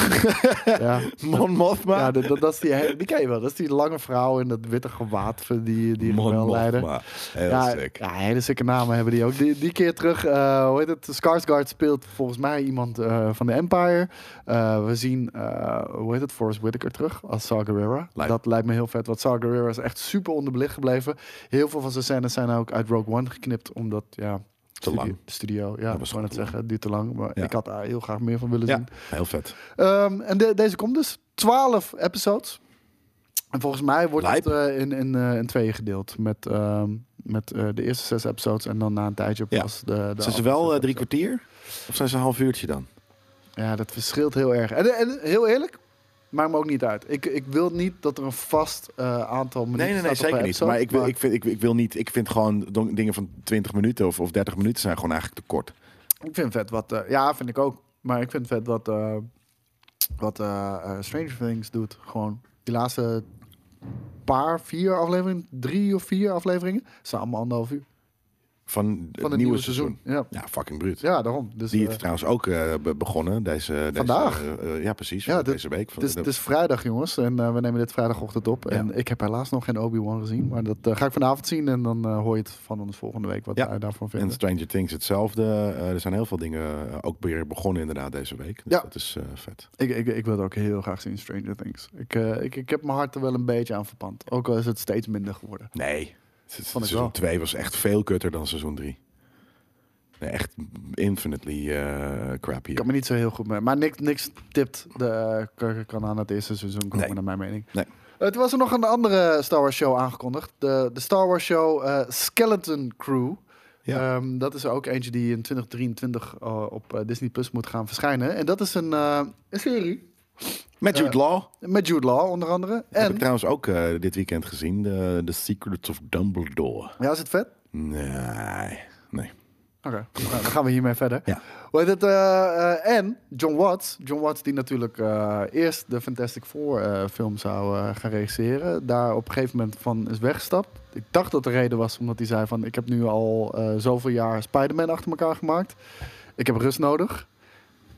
ja,
Mon Mothma.
ja dat, dat, dat is die, he- die ken je wel. Dat is die lange vrouw in dat witte gewaad van die, die wel leiden.
Heel
ja,
sick.
ja, hele sikke namen hebben die ook. Die, die keer terug, eh, hoe heet het? Skarsgård speelt volgens mij iemand eh, van de Empire. Eh, we zien, eh, hoe heet het? Forrest Whitaker terug als Saw Gerrera.
Lijp.
Dat lijkt me heel vet, want Saw Gerrera is echt super onderbelicht gebleven. Heel veel van zijn scènes zijn ook uit Rogue One geknipt, omdat, ja...
Te lang.
De studio, ja,
Dat
dat
was
was gewoon
gewoon
het
te
zeggen. Het duurt te lang, maar
Ja.
ik had daar heel graag meer van willen
Ja,
zien.
heel vet.
Ehm, en de- deze komt dus 12 episodes. En volgens mij wordt
Lijp.
het eh, in, in, eh, in tweeën gedeeld. Met, ehm, met eh, de eerste zes episodes en dan na een tijdje
Ja.
pas de, de
Zijn ze
andere
wel
zes
eh, drie
episodes.
kwartier? Of zijn ze een half uurtje dan?
Ja, dat verschilt heel erg. En, en heel eerlijk, maakt me ook niet uit. Ik, ik wil niet dat er een vast eh, aantal minuten
Nee, nee, nee,
staat
zeker
op
niet.
een episode,
Maar ik, wil, ik, vind, ik, ik wil niet, ik vind gewoon don- dingen van 20 minuten of, of 30 minuten zijn gewoon eigenlijk te kort.
Ik vind vet wat. eh, ja, vind ik ook. Maar ik vind vet wat. eh, wat eh, eh, Stranger Things doet. Gewoon die laatste paar, vier afleveringen. Drie of vier afleveringen. Samen anderhalf uur.
Van, het
Van
nieuwe,
het nieuwe
seizoen.
seizoen. Ja.
Ja, fucking bruut.
ja, daarom. Dus,
Die
eh,
is trouwens ook eh, be- begonnen deze, deze
Vandaag?
eh, eh, ja, precies.
Ja,
van
dit-
deze week. Van,
het, is,
de-
het is vrijdag, jongens. En eh, we nemen dit vrijdagochtend op.
Ja.
En ik heb helaas nog geen Obi-Wan gezien. Maar dat eh, ga ik vanavond zien. En dan eh, hoor je het van ons volgende week. Wat
Ja.
wij daarvan
en
vinden.
Stranger Things hetzelfde. Eh, er zijn heel veel dingen eh, ook weer begonnen inderdaad deze week. Dus
Ja.
dat is eh, vet.
Ik, ik, ik wil het ook heel graag zien, Stranger Things. Ik, eh, ik, ik heb mijn hart er wel een beetje aan verpand. Ook al is het steeds minder geworden.
Nee. Se-
ik wel.
Seizoen 2 was echt veel kutter dan seizoen 3. Nee, echt infinitely eh crappy.
Ik kan me niet zo heel goed mee. Maar niks, niks tipt de Kurken kan aan het eerste seizoen komen,
Nee.
naar mijn mening.
Nee.
Het was er nog een andere Star Wars show aangekondigd. De, de Star Wars show eh, Skeleton Crew.
Ja.
Ehm, dat is ook eentje die in 2023 eh, op eh, Disney Plus moet gaan verschijnen. En dat is een, eh, een serie
Met Jude Law.
met Jude Law onder andere.
Heb ik
Eh, En,
trouwens ook eh, dit weekend gezien. De, The Secrets of Dumbledore.
ja, is het vet?
Nee. Nee.
Oké, nou, dan gaan we hiermee verder.
Ja.
Hoe heet het, eh, eh, en John Watts. John Watts die natuurlijk eh, eerst de Fantastic Four eh, film zou eh, gaan regisseren. Daar op een gegeven moment van is weggestapt. Ik dacht dat de reden was omdat hij zei van... ik heb nu al eh, zoveel jaar Spider-Man achter elkaar gemaakt. Ik heb rust nodig.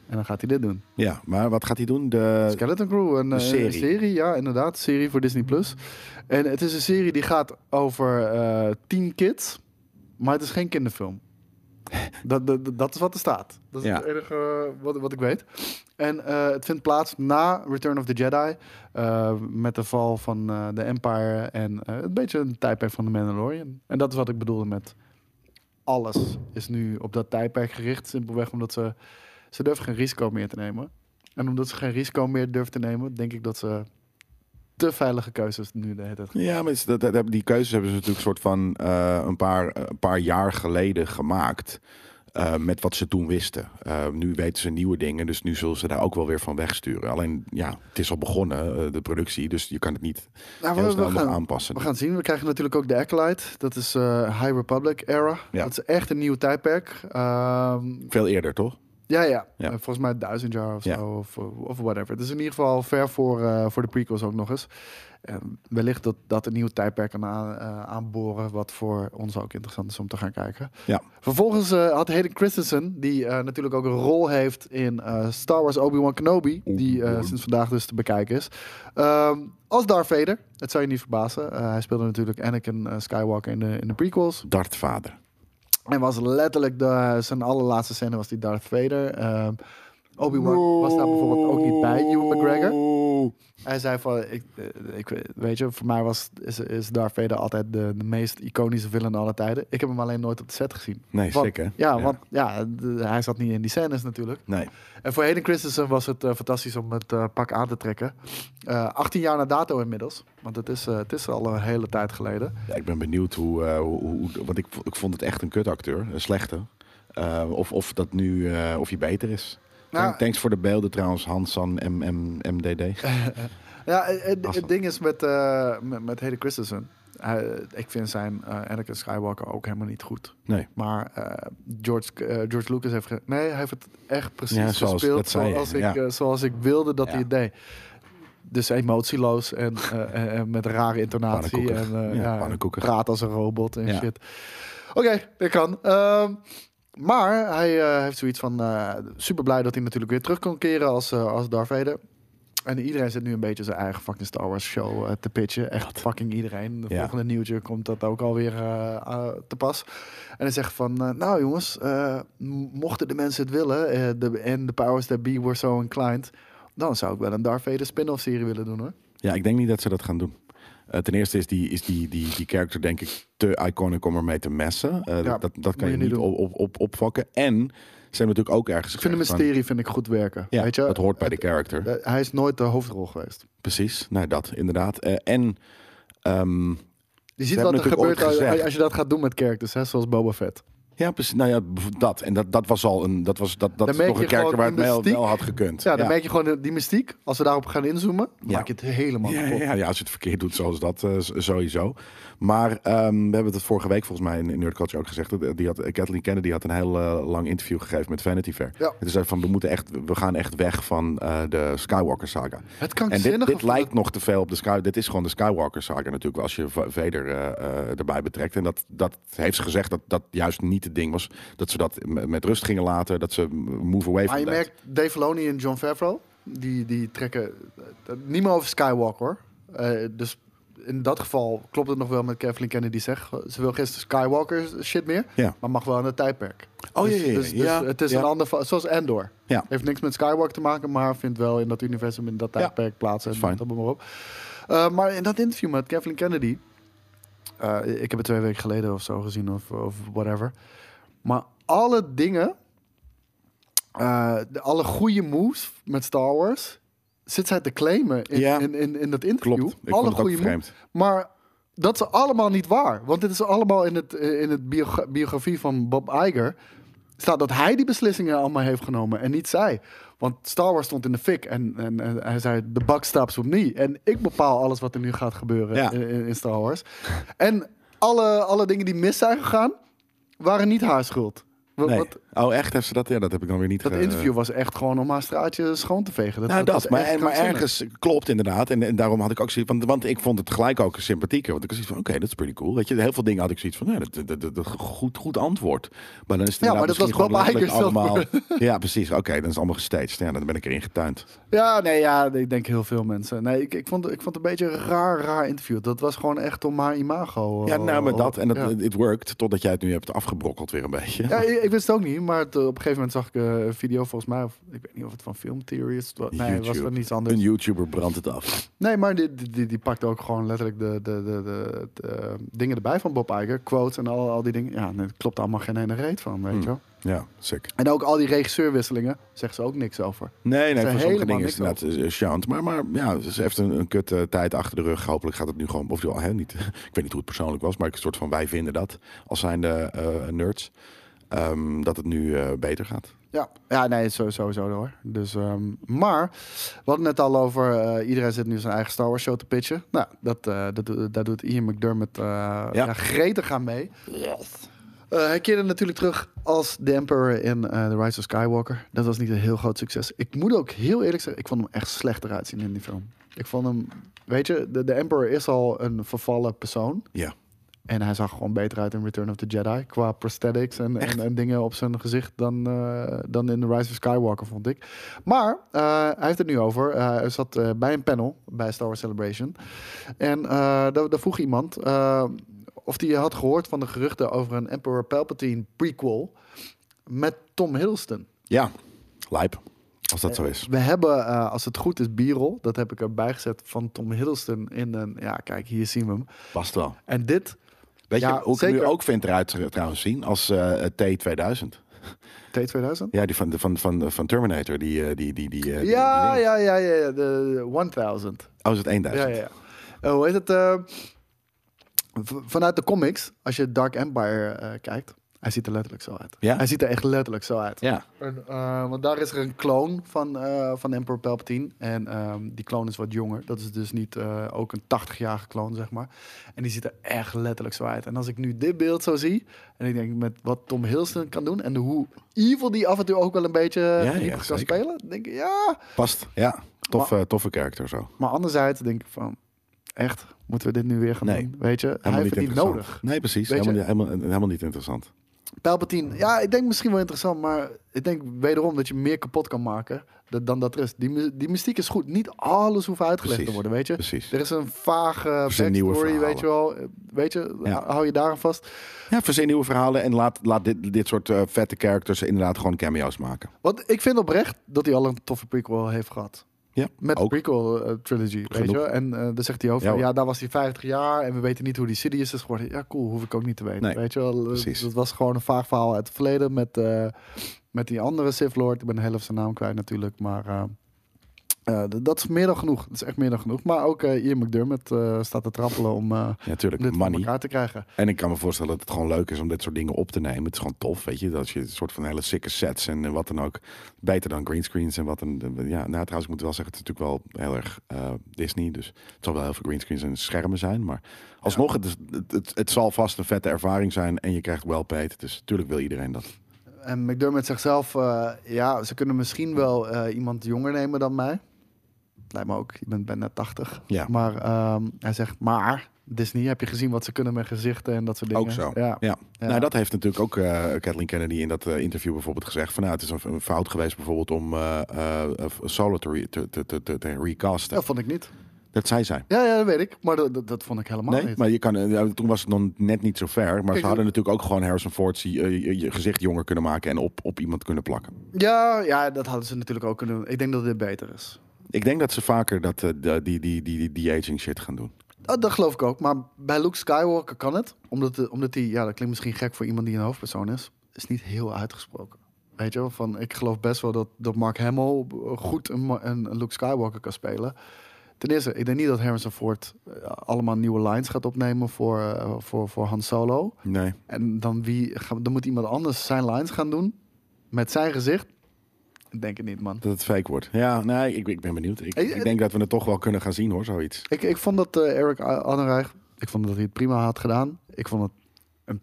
En dan gaat hij dit doen.
Ja, maar wat gaat hij doen? De,
Skeleton Crew, een,
een
eh,
serie.
een serie. Ja, inderdaad. Een serie voor Disney+. Plus. En het is een serie die gaat over eh, tien kids. Maar het is geen kinderfilm. dat, dat, dat is wat er staat. Dat is
Ja.
het enige eh, wat, wat ik weet. En eh, het vindt plaats na Return of the Jedi. eh, met de val van eh de Empire. En eh, een beetje een tijdperk van de Mandalorian. En dat is wat ik bedoelde met... alles is nu op dat tijdperk gericht. Simpelweg omdat ze, ze durven geen risico meer te nemen. En omdat ze geen risico meer durven te nemen, denk ik dat ze te veilige keuzes nu de hele tijd
Ja, maar het is- dat, dat, dat- die keuzes hebben ze natuurlijk soort van eh, een, paar, een paar jaar geleden gemaakt. eh, met wat ze toen wisten. Eh, nu weten ze nieuwe dingen, dus nu zullen ze daar ook wel weer van wegsturen. Alleen, ja, het is al begonnen, eh, de productie, dus je kan het niet
Nou, we,
heel
we
snel nog
gaan,
aanpassen.
we gaan zien. We krijgen natuurlijk ook de Acolyte. Dat is eh, High Republic era.
Ja.
Dat is echt een nieuw tijdperk. Ehm,
Veel eerder, toch?
ja, ja.
Ja.
Eh, volgens mij duizend jaar of
Ja.
zo. Of, of whatever. Dus in ieder geval ver voor, eh, voor de prequels ook nog eens. En wellicht dat dat een nieuw tijdperk kan aan, eh, aanboren. Wat voor ons ook interessant is om te gaan kijken.
Ja.
Vervolgens eh, had Hayden Christensen, die eh, natuurlijk ook een rol heeft in eh, Star Wars Obi-Wan Kenobi, die eh, sinds vandaag dus te bekijken is, Ehm, als Darth Vader. Het zou je niet verbazen. Eh, hij speelde natuurlijk Anakin eh, Skywalker in de, in de prequels.
Dartvader.
En was letterlijk de, zijn allerlaatste scène was die Darth Vader. Ehm, Obi-Wan was daar bijvoorbeeld ook niet bij, Ewan McGregor. Hij zei van, ik, eh, ik, weet je, voor mij was, is, is Darth Vader altijd de, de meest iconische villain aller tijden. Ik heb hem alleen nooit op de set gezien.
Nee,
Want-
sick, hè?
Ja, want ja, de- hij zat niet in die scènes natuurlijk.
Nee.
En voor Hayden Christensen was het eh, fantastisch om het eh, pak aan te trekken. Eh, 18 jaar na dato inmiddels, want het is, eh, het is al een hele tijd geleden.
Ja, ik ben benieuwd hoe, eh, hoe, hoe- want ik, vo- ik vond het echt een kutacteur, een slechte. Eh, of, of dat nu, eh, of hij beter is.
Nou-
Thank- Thanks voor de beelden trouwens, Hansan MDD.
Ja, eh, eh, het,
Awesome.
ding is met, eh, met, met Hayden Christensen. hij- ik vind zijn eh, Anakin Skywalker ook helemaal niet goed.
Nee.
Maar eh, George, eh, George Lucas heeft... ge- nee, hij heeft het echt precies
Ja, zoals-
gespeeld
dat zei je,
zoals, ik,
ja.
eh, zoals ik wilde dat
Ja.
hij het deed. Dus emotieloos en, eh, en- en met rare intonatie. En,
Pannenkoekig.
eh,
Ja,
ja,
pannenkoekig.
praat als een robot en
Ja.
shit. Oké, dat kan. Ehm, maar hij eh, heeft zoiets van... super blij dat hij natuurlijk weer terug kon keren als, eh, als Darth Vader. En iedereen zit nu een beetje zijn eigen fucking Star Wars show eh, te pitchen. Echt fucking iedereen. De
Ja.
volgende nieuwtje komt dat ook alweer eh, eh, te pas. En hij zegt van, eh, nou jongens, eh, m- mochten de mensen het willen... eh, de- en de powers that be were so inclined... dan zou ik wel een Darth Vader spin-off serie willen doen hoor.
Ja, ik denk niet dat ze dat gaan doen. Eh, ten eerste is die, is die, die, die character denk ik te iconic om ermee te messen. Eh,
Ja,
dat, dat, dat
moet
kan
je
je
niet
niet
doen.
op, op, op, opvakken. En ze hebben natuurlijk ook ergens
Ik vind de
gezegd van-
mysterie vind ik goed werken.
Ja,
weet je?
dat hoort bij de character.
Eh, hij is nooit de hoofdrol geweest.
Precies, nou dat inderdaad. Eh, en ehm,
Je ziet
hebben
wat er
natuurlijk ooit
gebeurt als,
gezegd-
als je dat gaat doen met characters, hè, zoals Boba Fett.
Ja, precies. Nou ja, bev- dat. En dat, dat was al een. Dat, was, dat, dat
Dan
is
merk
toch
je
een karakter waar
gewoon
het wel,
mystiek.
wel had gekund.
Ja, dan merk je gewoon de- die mystiek. Als we daarop gaan inzoomen, maak je het helemaal
ja,
kapot.
ja, ja, als je het verkeerd doet zoals dat, eh, s- sowieso. Maar ehm, we hebben het vorige week volgens mij in, in Nerd Culture ook gezegd. Dat- eh, Die had, Kathleen Kennedy had een heel eh, lang interview gegeven met Vanity Fair.
Ja.
En toen zei van, we, moeten echt, we gaan echt weg van eh, de Skywalker saga.
Het
En dit,
krankzinnige
dit lijkt nog te veel op de Sky. Dit is gewoon de Skywalker saga natuurlijk. Als je Va- Vader eh, eh, erbij betrekt. En dat, dat heeft ze gezegd dat dat juist niet het ding was. Dat ze dat m- met rust gingen laten. Dat ze move away
Maar
van
je
dat.
merkt Dave Filoni en John Favreau, die, die trekken eh, niet meer over Skywalker. hoor. Eh, dus in dat geval klopt het nog wel met Kathleen Kennedy zegt. Ze wil geen Skywalker shit meer,
Ja.
maar mag wel aan het tijdperk.
Oh,
dus,
ja, ja, ja.
Dus, dus
Ja,
het is
ja.
een ander, va- zoals Endor.
Ja.
Heeft niks met Skywalker te maken, maar vindt wel in dat universum in dat
Ja.
tijdperk plaats. En
Is fijn.
dat maar op. Eh, maar in dat interview met Kathleen Kennedy, eh, ik heb het twee weken geleden of zo gezien of, of whatever. Maar alle dingen, eh, de, alle goede moves met Star Wars, zit zij te claimen in,
Ja.
in, in, in dat interview.
Klopt. Ik
alle
vond het ook
goede
vreemd.
maar dat is allemaal niet waar. Want dit is allemaal in het, eh, in het biogra- biografie van Bob Iger. Staat dat hij die beslissingen allemaal heeft genomen en niet zij. Want Star Wars stond in de fik en, en, en hij zei: de bak staat op me. En ik bepaal alles wat er nu gaat gebeuren
Ja.
in, in- in Star Wars. En alle, alle dingen die mis zijn gegaan, waren niet haar schuld. Wa-
Nee.
want
oh, echt? Heeft ze dat? Ja, dat heb ik dan weer niet
dat
ge-
interview was echt gewoon om haar straatje schoon te vegen.
Nou, dat,
is
maar,
echt
en- maar
krankzinnig.
ergens klopt inderdaad. En, en daarom had ik ook zoiets van, want ik vond het gelijk ook sympathieker. Want ik was zoiets van, oké, dat is pretty cool. Weet je, heel veel dingen had ik zoiets van, ja, dat, dat, dat, dat- goed, goed antwoord. Maar dan is het
Ja,
inderdaad
maar dat
misschien
was
gewoon
Bob Iger
letterlijk
zelf.
allemaal. Ja, precies. Oké, dan is het allemaal gestaged. Ja, dan ben ik erin getuind.
Ja, nee, ja, ik denk heel veel mensen. Nee, ik, ik, vond, ik vond het een beetje een raar, raar interview. Dat was gewoon echt om haar imago. eh,
Ja, nou, maar dat. En dat,
ja.
it worked, totdat jij het nu hebt afgebrokkeld weer een beetje.
Ja, ik, ik ik wist het ook niet, maar het, eh, op een gegeven moment zag ik eh, een video volgens mij. Of, ik weet niet of het van Film Theory is. het wa- Nee, het was
YouTube.
wel niets
Een
anders.
YouTuber brandt het af.
Nee, maar die, die, die, die pakte ook gewoon letterlijk de, de, de, de, de, eh, dingen erbij van Bob Iger. Quotes en al, al die dingen. Ja, nee, het klopt allemaal geen ene reet van,
Hmm.
weet je wel.
Ja, sick.
En ook al die regisseurwisselingen zegt ze ook niks over.
Nee, nee,
Ze
voor sommige
helemaal
dingen is het
niks
inderdaad eh, chant. Maar, maar ja, ze heeft een, een kut eh, tijd achter de rug. Hopelijk gaat het nu gewoon... Of hè, niet, ik weet niet hoe het persoonlijk was, maar ik soort van wij vinden dat. Als zijnde eh, nerds. ehm, dat het nu eh, beter gaat.
Ja, ja nee, zo- sowieso hoor. Dus, ehm, maar, we hadden het net al over, eh, iedereen zit nu zijn eigen Star Wars show te pitchen. Nou, dat, eh, dat, doet- daar doet Ian McDermott eh ja. gretig aan mee. Eh, hij keerde natuurlijk terug als de Emperor in eh, The Rise of Skywalker. Dat was niet een heel groot succes. Ik moet ook heel eerlijk zeggen, ik vond hem echt slecht eruit zien in die film. Ik vond hem, weet je, de, de Emperor is al een vervallen persoon.
Ja.
En hij zag gewoon beter uit in Return of the Jedi. Qua prosthetics en, en, en dingen op zijn gezicht dan, eh, dan in The Rise of Skywalker, vond ik. Maar eh, hij heeft het nu over. Eh, hij zat eh, bij een panel bij Star Wars Celebration. En eh, daar, daar vroeg iemand eh, of hij had gehoord van de geruchten over een Emperor Palpatine prequel met Tom Hiddleston.
Ja, lijp. Als dat zo is.
We hebben, eh, als het goed is, Birol. Dat heb ik erbij gezet van Tom Hiddleston in een... Ja, kijk, hier zien we hem.
Past wel.
En dit...
Weet
Ja,
je hoe ik hem
zeker.
nu ook vind eruit eh, trouwens zien? Als eh, T2000.
T2000?
Ja, die van, van, van, van Terminator. Die, eh, die, die, die, eh, die- die
Ja,
dingen.
ja, ja, ja, ja, de 1000.
Oh, is het 1000?
Ja, ja, ja. Eh, hoe heet het? eh, v- vanuit de comics, als je Dark Empire eh, kijkt, hij ziet er letterlijk zo uit.
Ja?
Hij ziet er echt letterlijk zo uit.
Ja.
En, eh, want daar is er een kloon van, eh, van Emperor Palpatine. En ehm, die kloon is wat jonger. Dat is dus niet eh, ook een 80-jarige kloon, zeg maar. En die ziet er echt letterlijk zo uit. En als ik nu dit beeld zo zie. En ik denk met wat Tom Hiddleston kan doen. En hoe evil die af en toe ook wel een beetje
ja,
diep kan
zeker.
spelen. dan denk ik, ja.
Past. Ja. Toffe, toffe karakter zo.
Maar anderzijds denk ik van, echt, moeten we dit nu weer gaan
Nee.
doen? Weet je, hij
Helemaal
heeft het niet
interessant.
nodig.
Nee, precies.
Weet je?
Helemaal, niet- helemaal, helemaal niet interessant.
Palpatine, ja, ik denk misschien wel interessant, maar ik denk wederom dat je meer kapot kan maken da- dan dat er is. Die, my- die mystiek is goed. Niet alles hoeft uitgelegd
Precies.
te worden, weet je.
Precies.
Er is een vage
zijn nieuwe
backstory, weet je wel. Eh, Weet je,
Ja.
hou je daar aan vast.
Ja, verzin nieuwe verhalen en laat, laat dit, dit soort eh, vette characters inderdaad gewoon cameo's maken.
Want ik vind oprecht dat hij al een toffe prequel heeft gehad.
Ja,
Met
ook.
de prequel eh, trilogy, weet
Genoeg.
je. En eh dan zegt hij over,
Ja,
ja,
hoor.
daar was hij 50 jaar en we weten niet hoe die Sidious is geworden. Ja, cool, hoef ik ook niet te weten,
Nee,
weet je wel. Eh,
precies.
Dat was gewoon een vaag verhaal uit het verleden met, eh, met die andere Sith Lord. Ik ben de helft zijn naam kwijt natuurlijk, maar... eh, eh, d- dat is meer dan genoeg. Dat is echt meer dan genoeg. Maar ook eh Ian McDermott eh, staat te trappelen om eh,
Ja, tuurlijk.
dit voor
Money.
elkaar te krijgen.
En ik kan me voorstellen dat het gewoon leuk is om dit soort dingen op te nemen. Het is gewoon tof, weet je. Dat je een soort van hele sikke sets en eh, wat dan ook. Beter dan greenscreens en wat dan... Ja, nou trouwens, ik moet wel zeggen, het is natuurlijk wel heel erg eh, Disney. Dus het zal wel heel veel greenscreens en schermen zijn. Maar alsnog, het, is- het, het, het zal vast een vette ervaring zijn. En je krijgt wel paid. Dus natuurlijk wil iedereen dat.
En McDermott zegt zelf, eh, ja, ze kunnen misschien wel eh, iemand jonger nemen dan mij. Lijkt me ook, je bent bijna 80.
Ja.
Maar ehm, hij zegt, maar Disney, heb je gezien wat ze kunnen met gezichten en dat soort dingen?
Ook zo. Ja.
Ja. Ja.
Nou, dat heeft natuurlijk ook eh Kathleen Kennedy in dat eh, interview bijvoorbeeld gezegd. Van, nou, het is een, een fout geweest bijvoorbeeld om eh eh, eh, Solo te, re- te, te, te, te- te recasten.
Dat vond ik niet.
Dat zei zij.
Ja, ja, dat weet ik. Maar dat, dat, dat vond ik helemaal
Nee,
niet.
maar je kan, eh, ja, toen was het nog net niet zo ver. Maar ze
Kijk,
hadden natuurlijk ook gewoon Harrison Ford zie- eh, je, je gezicht jonger kunnen maken en op, op iemand kunnen plakken.
Ja, ja, dat hadden ze natuurlijk ook kunnen doen. Ik denk dat dit beter is.
Ik denk dat ze vaker dat, eh, de- die, die, die, die, die aging shit gaan doen.
Oh, Dat, dat geloof ik ook. Maar bij Luke Skywalker kan het. Omdat, de- omdat die, ja, dat klinkt misschien gek voor iemand die een hoofdpersoon is. Is niet heel uitgesproken. Weet je wel, van ik geloof best wel dat, dat Mark Hamill eh, goed een, Ma- een een Luke Skywalker kan spelen. Ten eerste, ik denk niet dat Harrison Ford eh, allemaal nieuwe lines gaat opnemen voor, eh, voor, voor Han Solo.
Nee.
En dan, wie, ga- dan moet iemand anders zijn lines gaan doen met zijn gezicht. Ik denk het niet, man.
Dat het fake wordt. Ja, nee, ik, ik ben benieuwd. Ik,
Hey,
ik
eh,
denk dat we het toch wel kunnen gaan zien hoor, zoiets.
Ik, ik vond dat eh, Eric Annenreich, ik vond dat hij het prima had gedaan. Ik vond het een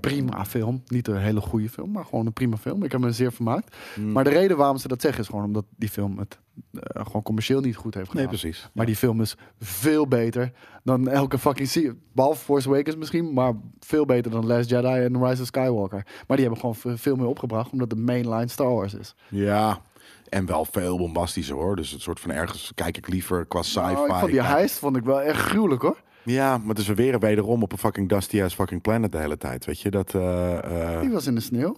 prima film. Niet een hele goede film, maar gewoon een prima film. Ik heb me zeer vermaakt.
Hmm.
Maar de reden waarom ze dat zeggen is gewoon omdat die film het eh, gewoon commercieel niet goed heeft gedaan.
Nee, precies.
Maar die film is veel beter dan elke fucking... se- Behalve Force Awakens misschien, maar veel beter dan Last Jedi en Rise of Skywalker. Maar die hebben gewoon ve- veel meer opgebracht, omdat de mainline Star Wars is.
Ja, en wel veel bombastischer hoor. Dus het soort van ergens kijk ik liever qua sci-fi.
Oh, ik vond die
Kijk-
heist vond ik wel echt gruwelijk, hoor.
Ja, maar het is weer wederom op een fucking dusty ass fucking planet de hele tijd. Weet je, dat... eh, eh,
Die was in de sneeuw.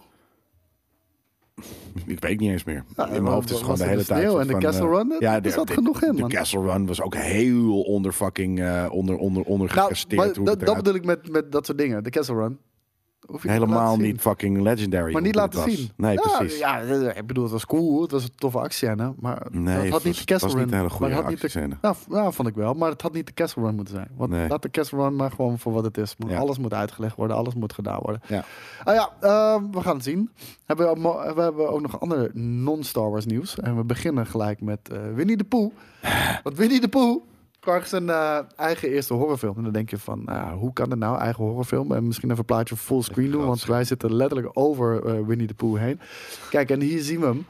Ik weet niet eens meer.
Nou,
in mijn hoofd is
was
het gewoon de
er
hele
de
tijd.
sneeuw
soort
en de
van,
Castle
eh,
Run? Dat-
Ja,
er
de,
zat
de-
genoeg in,
De
man.
Castle Run was ook heel onder fucking eh, onder onder onder
Nou,
gepresteerd
maar
hoe
dat,
het
dat
eruit-
bedoel ik met, met dat soort dingen. De Castle Run. Hoef je te
helemaal
laten zien.
niet fucking legendary.
Maar
hoe
niet
het
laten
was.
zien.
Nee,
ja,
precies.
Ja, ik bedoel, het was cool. Het was een toffe actiescène. Maar
Nee,
het had
het
niet
was-
de Castle
was
Run.
niet een hele
maar
goede
het had niet de-
actiescène.
Nou, v- nou, vond ik wel. Maar het had niet de Castle Run moeten zijn. Want
Nee.
laat de Castle Run maar gewoon voor wat het is. Maar
Ja.
Alles moet uitgelegd worden. Alles moet gedaan worden.
Ja.
Ah ja, ehm, we gaan het zien. Hebben we, ook mo- we hebben ook nog ander non-Star Wars nieuws. En we beginnen gelijk met eh, Winnie de Pooh. Want Winnie de Pooh krijgt zijn eh, eigen eerste horrorfilm. En dan denk je van, ah, hoe kan dat nou, eigen horrorfilm? En misschien even een plaatje fullscreen doen, want wij zitten letterlijk over eh, Winnie de Pooh heen. Kijk, en hier zien we hem.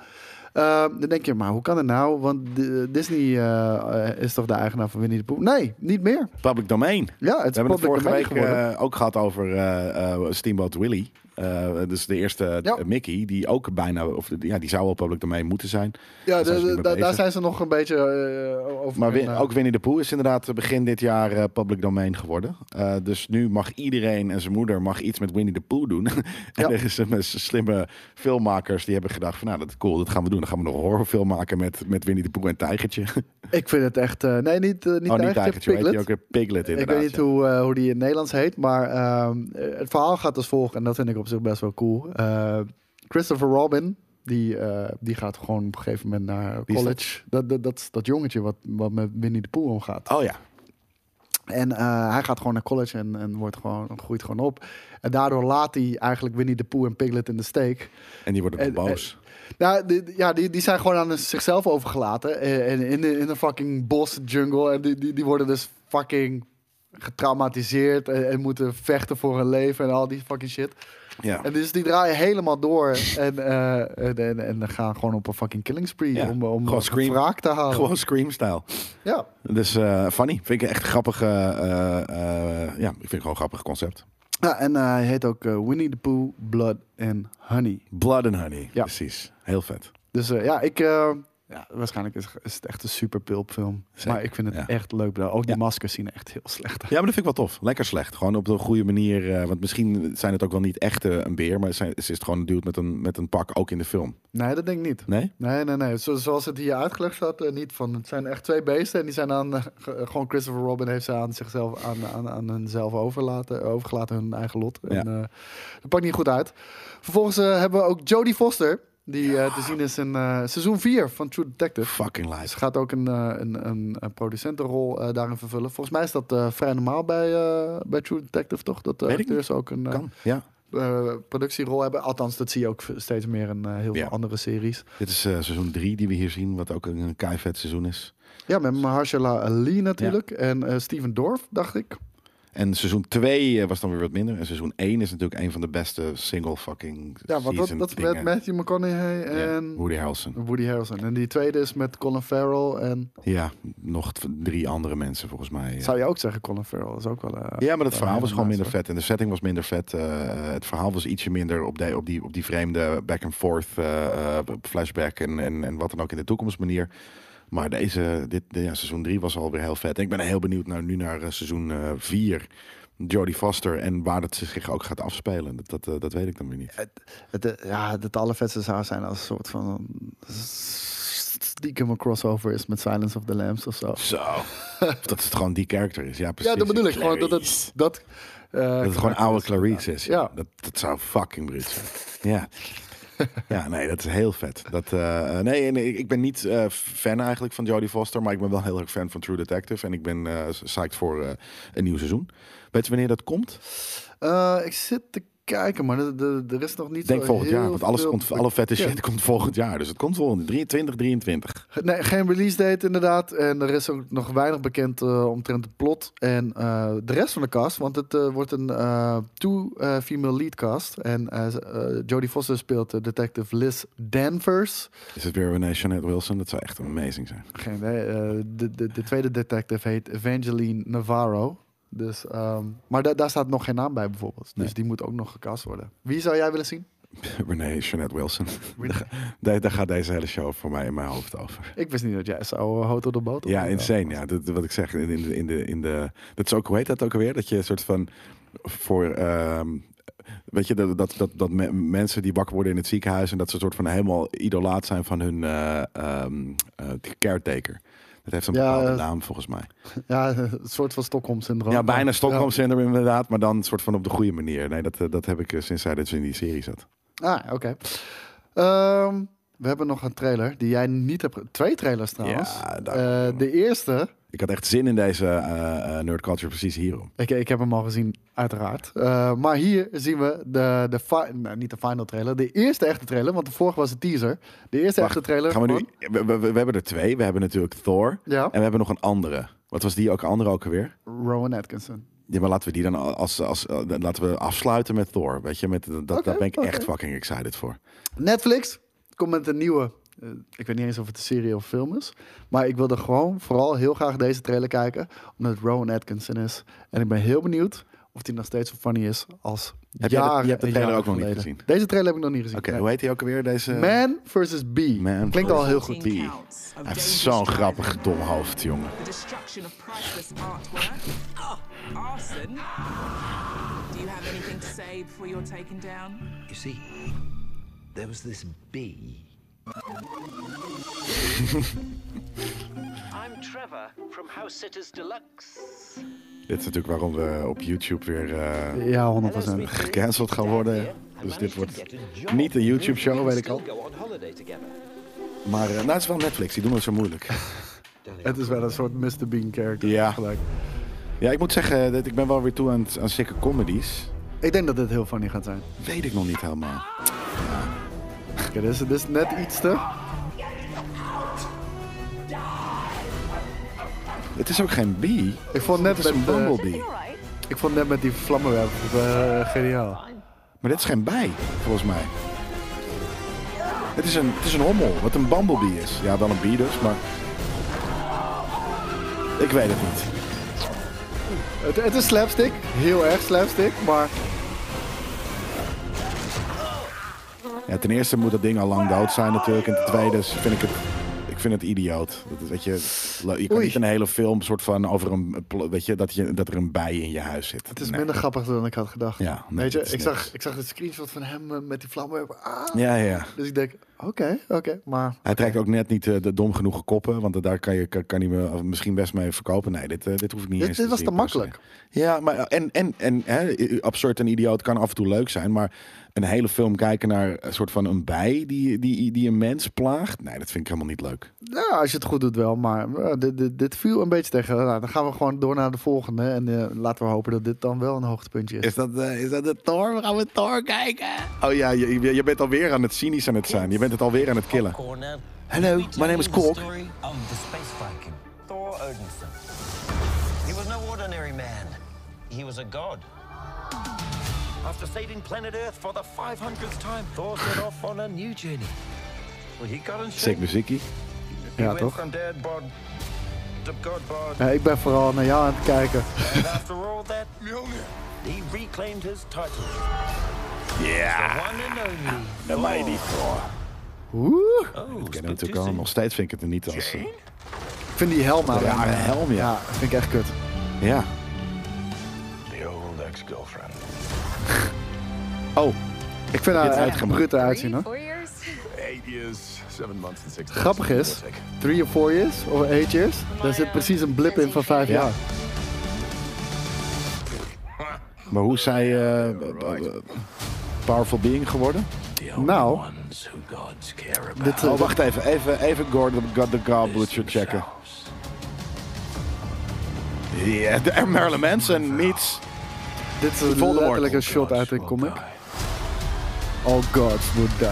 Eh, dan denk je, maar hoe kan dat nou? Want de- Disney eh, eh, is toch de eigenaar van Winnie de Pooh? Nee, niet meer.
Public domain.
Ja, het
We
is
hebben het
public
vorige
domein
week
geworden.
eh, ook gehad over eh, eh, Steamboat Willie. Eh, dus de eerste
Ja.
eh, Mickey, die ook bijna, of de- ja, die zou wel public domein moeten zijn.
ja,
daar zijn ze
de-
niet mee
de- da- daar
bezig.
zijn ze nog een beetje eh, over.
Maar
in,
Win-
eh,
ook Winnie de Pooh is inderdaad begin dit jaar eh, public domein geworden. Eh, dus nu mag iedereen en zijn moeder mag iets met Winnie de Pooh doen. en
Ja.
er zijn mensen- slimme filmmakers die hebben gedacht van nou, dat is cool, dat gaan we doen. Dan gaan we nog een horrorfilm maken met, met Winnie de Pooh en Tijgertje.
Ik vind het echt... eh, nee, niet, eh, niet,
oh, niet
eigenlijk,
Tijgertje, weet je
Piglet.
ook weer Piglet
Ik
inderdaad.
weet niet
ja.
hoe, eh, hoe die in het Nederlands heet, maar ehm, eh, het verhaal gaat als volgt en dat vind ik op zich best wel cool. Eh, Christopher Robin, die, eh, die gaat gewoon op een gegeven moment naar
Wie is
college. Dat, dat, dat, dat jongetje wat, wat met Winnie de Pooh omgaat.
Oh ja,
En eh, hij gaat gewoon naar college en, en wordt gewoon, groeit gewoon op. En daardoor laat hij eigenlijk Winnie de Pooh en Piglet in de steek.
en die worden
En-
boos.
Nou, die, ja, die, die zijn gewoon aan zichzelf overgelaten. eh, En in, de- in een fucking bos, jungle. En die, die, die worden dus fucking getraumatiseerd. En, en moeten vechten voor hun leven en al die fucking shit.
ja.
En dus die draaien helemaal door. En, eh, en, en, en gaan gewoon op een fucking killing spree.
Ja,
Om, om
gewoon Scream.
wraak te halen.
Gewoon Scream-stijl.
Ja.
Dus eh, funny. Vind ik echt een grappig. eh, eh, eh, ja, ik vind het gewoon een grappig concept.
ja. En eh, hij heet ook eh, Winnie the Pooh, Blood and Honey.
Blood and Honey.
Ja.
Precies. Heel vet.
Dus eh, ja, ik. eh, ja, waarschijnlijk is, is het echt een super film.
Zeker,
Maar ik vind het
ja.
echt leuk. bedacht. Ook die
Ja.
maskers zien er echt heel slecht uit.
Ja, maar dat vind ik wel tof. Lekker slecht. Gewoon op de goede manier. eh, want misschien zijn het ook wel niet echt eh, een beer. Maar zijn, ze is het gewoon een dude met een, met een pak. Ook in de film.
Nee, dat denk ik niet.
Nee?
Nee, nee, nee. Zo, zoals het hier uitgelegd staat, eh, niet van. Het zijn echt twee beesten. En die zijn aan. eh, ge- eh, gewoon Christopher Robin heeft ze aan zichzelf. aan, aan, aan hunzelf overlaten, overgelaten. hun eigen lot. En, eh, dat pakt niet goed uit. Vervolgens eh, hebben we ook Jodie Foster. Die eh, te zien is in eh, seizoen 4 van True Detective.
Fucking
Ze
lies.
gaat ook een, eh, een, een, een producentenrol eh, daarin vervullen. Volgens mij is dat eh, vrij normaal bij, eh, bij True Detective, toch? Dat de
Weet ik
acteurs ook een eh,
Kan. Ja.
eh, productierol hebben. Althans, dat zie je ook v- steeds meer in eh, heel
Ja.
veel andere series.
Dit is eh, seizoen 3 die we hier zien. Wat ook een, een keivet seizoen is.
Ja, met Mahershala Ali natuurlijk. En eh, Steven Dorff, dacht ik.
En seizoen 2 was dan weer wat minder. En seizoen 1 is natuurlijk een van de beste single fucking
Ja, want dat,
season
dat is
dingen.
met ehm, Matthew McConaughey
Ja,
en
Woody Harrelson.
Woody Harrelson. En die tweede is met Colin Farrell. En
Ja, nog t- drie andere mensen volgens mij. eh.
zou je ook zeggen, Colin Farrell is ook wel... eh,
Ja, maar dat
wel
verhaal
een
was gewoon minder
hele nice,
vet. En de setting was minder vet. Eh, het verhaal was ietsje minder op, die op, die, op die vreemde back-and-forth eh, eh, flashback en, en, en wat dan ook in de toekomst manier. Maar deze, dit, de- ja, seizoen 3 was alweer heel vet. En ik ben heel benieuwd naar, nu naar eh, seizoen 4. Jodie Foster en waar dat zich ook gaat afspelen. Dat, dat, eh, dat weet ik dan weer niet.
Het, eh, ja, dat de allervetste zou zijn als een soort van stiekem een crossover is met Silence of the Lambs of zo.
Zo. dat het gewoon die character is. Ja, precies.
ja, dat bedoel ik. Gewoon dat
Clarice.
het, dat, eh,
Dat het gewoon oude Clarice is. Ja.
Ja.
Dat, dat zou fucking bruut zijn. Ja. Ja, nee, dat is heel vet. Dat, eh, eh, nee, nee, ik- ik ben niet eh, fan eigenlijk van Jodie Foster, maar ik ben wel heel erg fan van True Detective. En ik ben eh psyched voor eh, een nieuw seizoen. Weet je wanneer dat komt?
Eh, ik zit te kijken, maar de- de- er is nog niet
Ik denk
zo
volgend jaar,
heel
want alles
veel
komt, alle vette shit
bekend.
komt volgend jaar. Dus het komt volgend 23, 23.
Nee, geen release date inderdaad. En er is ook nog weinig bekend eh, omtrent het plot en eh, de rest van de cast. Want het eh, wordt een eh two eh, female lead cast. En eh, ze- eh, Jodie Foster speelt eh, detective Liz Danvers.
Is het weer Renee Jeanette Wilson? Dat zou echt amazing zijn.
Geen idee. eh, de, de, de tweede detective heet Evangeline Navarro. Dus, ehm, maar da- daar staat nog geen naam bij bijvoorbeeld. Dus
Nee.
die moet ook nog gecast worden. Wie zou jij willen zien?
Renee Jeanette Wilson. Daar, daar gaat deze hele show voor mij in mijn hoofd over.
Ik wist niet dat jij zou eh, Hotel de Boot
Ja,
opnemen.
insane. Ja, dat, wat ik zeg. In, in, de- in de, in de, dat is ook, hoe heet dat ook alweer? Dat je een soort van voor ehm, weet je, dat, dat, dat, dat me- mensen die wakker worden in het ziekenhuis en dat ze soort van helemaal idolaat zijn van hun eh, ehm, eh, caretaker. Dat heeft een
Ja,
bepaalde
eh,
naam volgens mij.
Ja, een soort van Stockholm-syndroom.
Ja, bijna Stockholm Syndrome inderdaad, maar dan soort van op de goede manier. Nee, dat, eh, dat heb ik eh, sinds hij dus in die serie zat.
Ah, oké. Ehm, we hebben nog een trailer die jij niet hebt... ge- Twee trailers trouwens.
Ja, daar-
Eh, de eerste...
Ik had echt zin in deze eh, eh, nerd culture precies hierom.
Ik, ik heb hem al gezien, uiteraard. Eh, maar hier zien we de... de fi- nou, niet de final trailer. De eerste echte trailer, want de vorige was een teaser. De eerste
Wacht,
echte trailer
Gaan we, nu,
van-
we, we- we hebben er twee. We hebben natuurlijk Thor
Ja,
en we hebben nog een andere. Wat was die ook andere ook alweer?
Rowan Atkinson.
Ja, maar laten we die dan als, als, eh, dan laten we afsluiten met Thor. Weet je, met, dat, dat- daar ben ik
oké.
echt fucking excited voor.
Netflix komt met een nieuwe... eh, ik weet niet eens of het een serie of film is. Maar ik wilde gewoon vooral heel graag deze trailer kijken. Omdat het Rowan Atkinson is. En ik ben heel benieuwd of die nog steeds zo funny is als
Heb jij de-
jaren
je hebt de
en
trailer
jaren
ook nog niet
geleden.
gezien?
Deze trailer heb ik nog niet gezien.
Oké,
nee.
hoe heet hij ook alweer? Deze...
Man versus B.
Man
Klinkt al heel goed.
Die. Hij heeft zo'n grappig dom hoofd, jongen.
The destruction of priceless artwork. Oh, arson. Do you have anything to say before you're taken down?
You see, there was this bee.
I'm Trevor from House Sitters Deluxe.
Dit is natuurlijk waarom we op YouTube weer eh,
Ja, 100%.
gecanceld gaan worden. Dus dit wordt niet een YouTube-show, weet ik al.
Go on holiday together.
Maar eh, nou, het is wel Netflix, die doen het zo moeilijk.
Het is wel een soort Mr. Bean character.
Ja.
Gelijk.
Ja, ik moet zeggen, dat ik ben wel weer toe aan, aan sikke comedies.
Ik denk dat dit heel funny gaat zijn.
Weet ik nog niet helemaal.
Oké, dit, is, dit is net iets te...
Het is ook geen bee.
Ik vond net
Het is een
met, eh,
bumblebee.
ik vond net met die vlammenwerp eh, geniaal.
Maar dit is geen bij, volgens mij. Het is een, het is een hommel, wat een bumblebee is. Ja, wel een bee dus, maar... Ik weet het niet.
Het, het is slapstick. Heel erg slapstick. Maar
Ja, ten eerste moet dat ding al lang dood zijn natuurlijk. En ten tweede is- vind ik het... Ik vind het idioot. Dat, is- weet je, le- je kan
Oei.
niet een hele film soort van over een... pl- Weet je, dat, je, dat er een bij in je huis zit.
het is
Nee.
minder grappig dan ik had gedacht.
Ja, nee,
Weet je,
het is
ik
niks.
zag, ik zag de screenshot van hem eh, met die vlammenwerp. Ah.
Ja, ja.
Dus ik denk, oké, oké. maar
Hij trekt ook net niet eh, de dom genoegen koppen, want daar kan, je, kan, kan hij me misschien best mee verkopen. Nee, dit, eh, dit hoef ik niet
Dit-
eens
dit
te
was
zien,
te
per se.
makkelijk.
Ja, maar eh, en, en, en hè, absurd en idioot kan af en toe leuk zijn, maar een hele film kijken naar een soort van een bij die, die, die een mens plaagt, nee, dat vind ik helemaal niet leuk.
ja, als je het goed doet wel. Maar eh, dit, dit, dit viel een beetje tegen. Nou, dan gaan we gewoon door naar de volgende. En eh, laten we hopen dat dit dan wel een hoogtepuntje is.
dat, eh, is dat de Thor? We gaan met Thor kijken. Oh ja, je, je- je bent alweer aan het cynisch aan het zijn. Je bent het alweer aan het killen.
Corner.
Hello, my name is Cork.
story of the space Viking, Thor Odinson. He was no ordinary man. He was a god. After saving planet Earth for the 500th time, Thor set off on a new journey. Well, he got in
Sick
shape.
muziekie.
He
Ja,
went
toch?
from dead bod to god bod.
Ja, ik ben vooral naar jou aan het kijken.
and after all that, he reclaimed his title.
Ja,
One and only.
de mighty Thor.
Oeh.
Oh,
Ik
spit
ken hem natuurlijk
dus
al.
in.
Nog steeds vind ik het er niet als... eh,
Ik vind die helm aan.
Rare helm, ja.
Ja, dat vind ik echt kut.
Ja.
The old ex-girlfriend.
Oh,
Ik vind haar echt
uitgemaakt.
brut uitzien hoor. Grappig is, three of four years of eight years, daar zit precies een blip in van vijf
Ja.
jaar.
Maar hoe is zij eh, b- b- powerful being geworden?
The only
Now-
ones who gods care about.
Dit,
Oh,
eh,
wacht even. Even, even Gordon got the Goblitzer checken.
themselves.
Ja, de en Marilyn Manson meets...
dit is een
Voldemort.
letterlijk een shot
Gods
uit een
will
comic.
die.
All gods would die.
I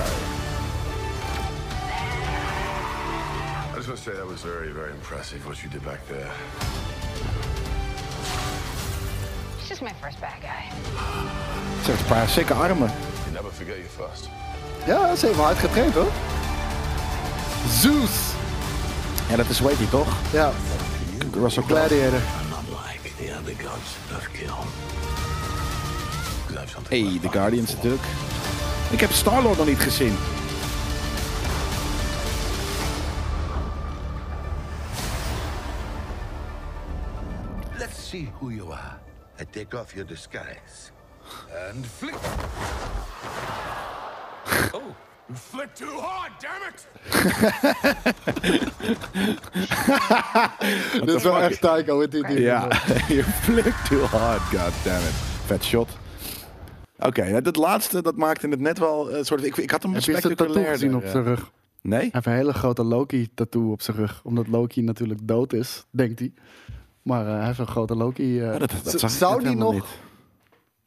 just want to say that was very, very impressive what you did back there.
He's just my first bad guy.
Ze heeft een paar sikke armen.
You never forget your first.
Ja, ze heeft wel hard getraind hoor. Zeus!
Ja, dat is weet je toch?
Ja,
Russell Crowe.
gladiator.
I'm not like the other gods of Kiln. 'Cause I have something
Hey,
worth
The
fighting
Guardians
for.
natuurlijk. Ik heb Star-Lord nog niet gezien.
Let's see who you are. I take off your disguise.
And flick. Oh. Flick too hard, damn it!
Dit is wel echt Tycho met die
Ja, je flikt too hard, goddammit. Vet shot. Oké, nou, dat laatste dat maakte het net wel eh, soort. Ik, ik had hem
Heb je zijn tattoo
spectaculairder,
gezien op
eh.
zijn rug? Hij
Nee?
heeft een hele grote Loki-tattoo op zijn rug. Omdat Loki natuurlijk dood is, denkt hij. Maar eh, hij heeft een grote Loki... eh,
Ja, dat, dat
Z-
zag ik
zou
net
die
helemaal
nog...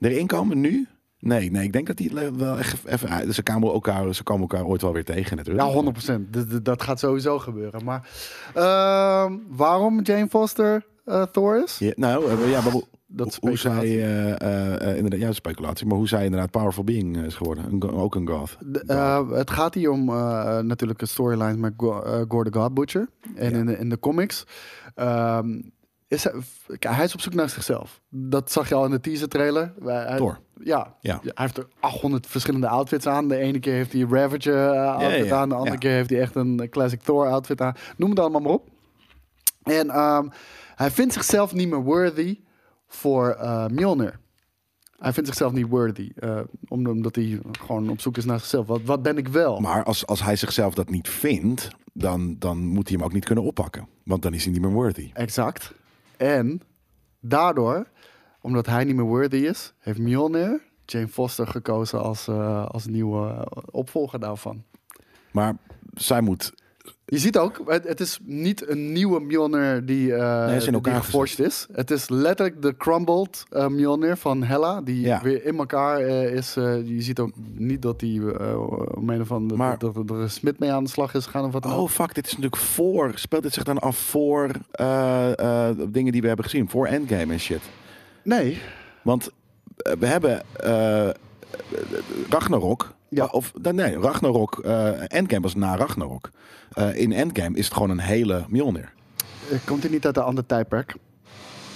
niet. erin komen nu? Nee, nee, ik denk dat die le- wel echt even uit. Ze kwamen elkaar, ze komen elkaar ooit wel weer tegen natuurlijk.
Ja, 100 D- d- Dat gaat sowieso gebeuren. Maar ehm, waarom Jane Foster eh, Thor is?
Ja, nou, eh, ja, maar hoe,
Dat is
hoe zij,
speculatie.
eh, eh, eh, inderdaad, ja, speculatie, maar hoe zij inderdaad powerful being eh, is geworden. Een go- ook een goth.
De- eh, het gaat hier om eh, natuurlijk een storyline met Go- eh, Gore the God Butcher. En in, de, in de comics ehm, is hij, f- k- hij is op zoek naar zichzelf. Dat zag je al in de teaser trailer. Wij- hij-
Thor.
Ja,
Ja.
Hij heeft er 800 verschillende outfits aan. De ene keer heeft hij een Ravager eh, outfit
ja,
aan. De andere
ja.
keer heeft hij echt een eh, classic Thor outfit aan. Noem het allemaal maar op. En ehm, hij vindt zichzelf niet meer worthy voor eh Mjolnir. Hij vindt zichzelf niet worthy. eh, om- omdat hij gewoon op zoek is naar zichzelf. Wat, wat ben ik wel?
Maar als, als hij zichzelf dat niet vindt, dan, dan moet hij hem ook niet kunnen oppakken. Want dan is hij niet meer worthy.
Exact. En daardoor, omdat hij niet meer worthy is, heeft Mjolnir Jane Foster gekozen als, eh, als nieuwe eh, opvolger daarvan.
Maar zij moet...
Je ziet ook, het, het is niet een nieuwe Mjolnir die, eh
Nee, het is in
die
elkaar
geforged is. Het is letterlijk de crumbled eh Mjolnir van Hella, die
Ja.
weer in elkaar eh, is. eh, je ziet ook niet dat die eh om een of andere,
Maar-
dat, dat er een smid mee aan de slag is gegaan of wat dan ook.
Oh fuck, dit is natuurlijk voor... Speelt dit zich dan af voor eh, eh, dingen die we hebben gezien? Voor Endgame en shit.
Nee,
Want eh, we hebben eh, Ragnarok.
Ja.
Of, dan- nee, Ragnarok. eh, Endgame was na Ragnarok. Eh, in Endgame is het gewoon een hele Mjolnir.
eh, komt hij niet uit een ander tijdperk?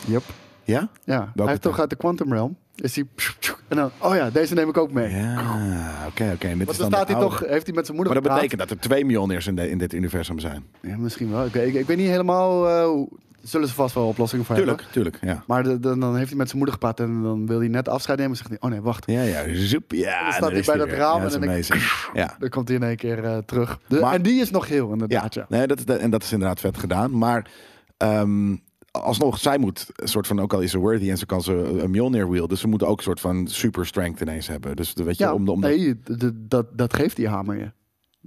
Yep.
Ja?
Ja, hij heeft
tijd?
toch uit de Quantum Realm. Is hij... En dan, oh ja, deze neem ik ook mee.
Ja, oké, oké. en dit
Want
is
dan
dan
staat
de
hij
oude.
toch, eh, heeft hij met zijn moeder
Maar dat
gepraat.
betekent dat er twee Mjolnirs in, de- in dit universum zijn.
Ja, misschien wel. Ik, weet- ik, ik weet niet helemaal... eh, hoe- zullen ze vast wel oplossingen voor
Tuurlijk,
hebben.
tuurlijk, ja.
Maar de- dan, dan heeft hij met zijn moeder gepraat en dan wil hij net afscheid nemen. En zegt hij, oh nee, wacht.
Ja, ja, zoep, ja.
Dan staat
daar
hij
is
bij dat
weer.
raam
Ja,
en
dat
dan
is amazing. Ja.
Dan komt hij in één keer eh, terug. De-
Maar-
en die is nog heel,
Ja,
inderdaad. Ja.
Nee, dat, dat- en dat is inderdaad vet gedaan. Maar ehm, alsnog, zij moet een soort van, ook al is ze worthy en ze kan ze een Mjolnir wield. Dus ze moet ook een soort van super strength ineens hebben. Dus de- weet je,
Ja,
om de... Om de-
nee, de- de- dat, dat geeft die hamer je.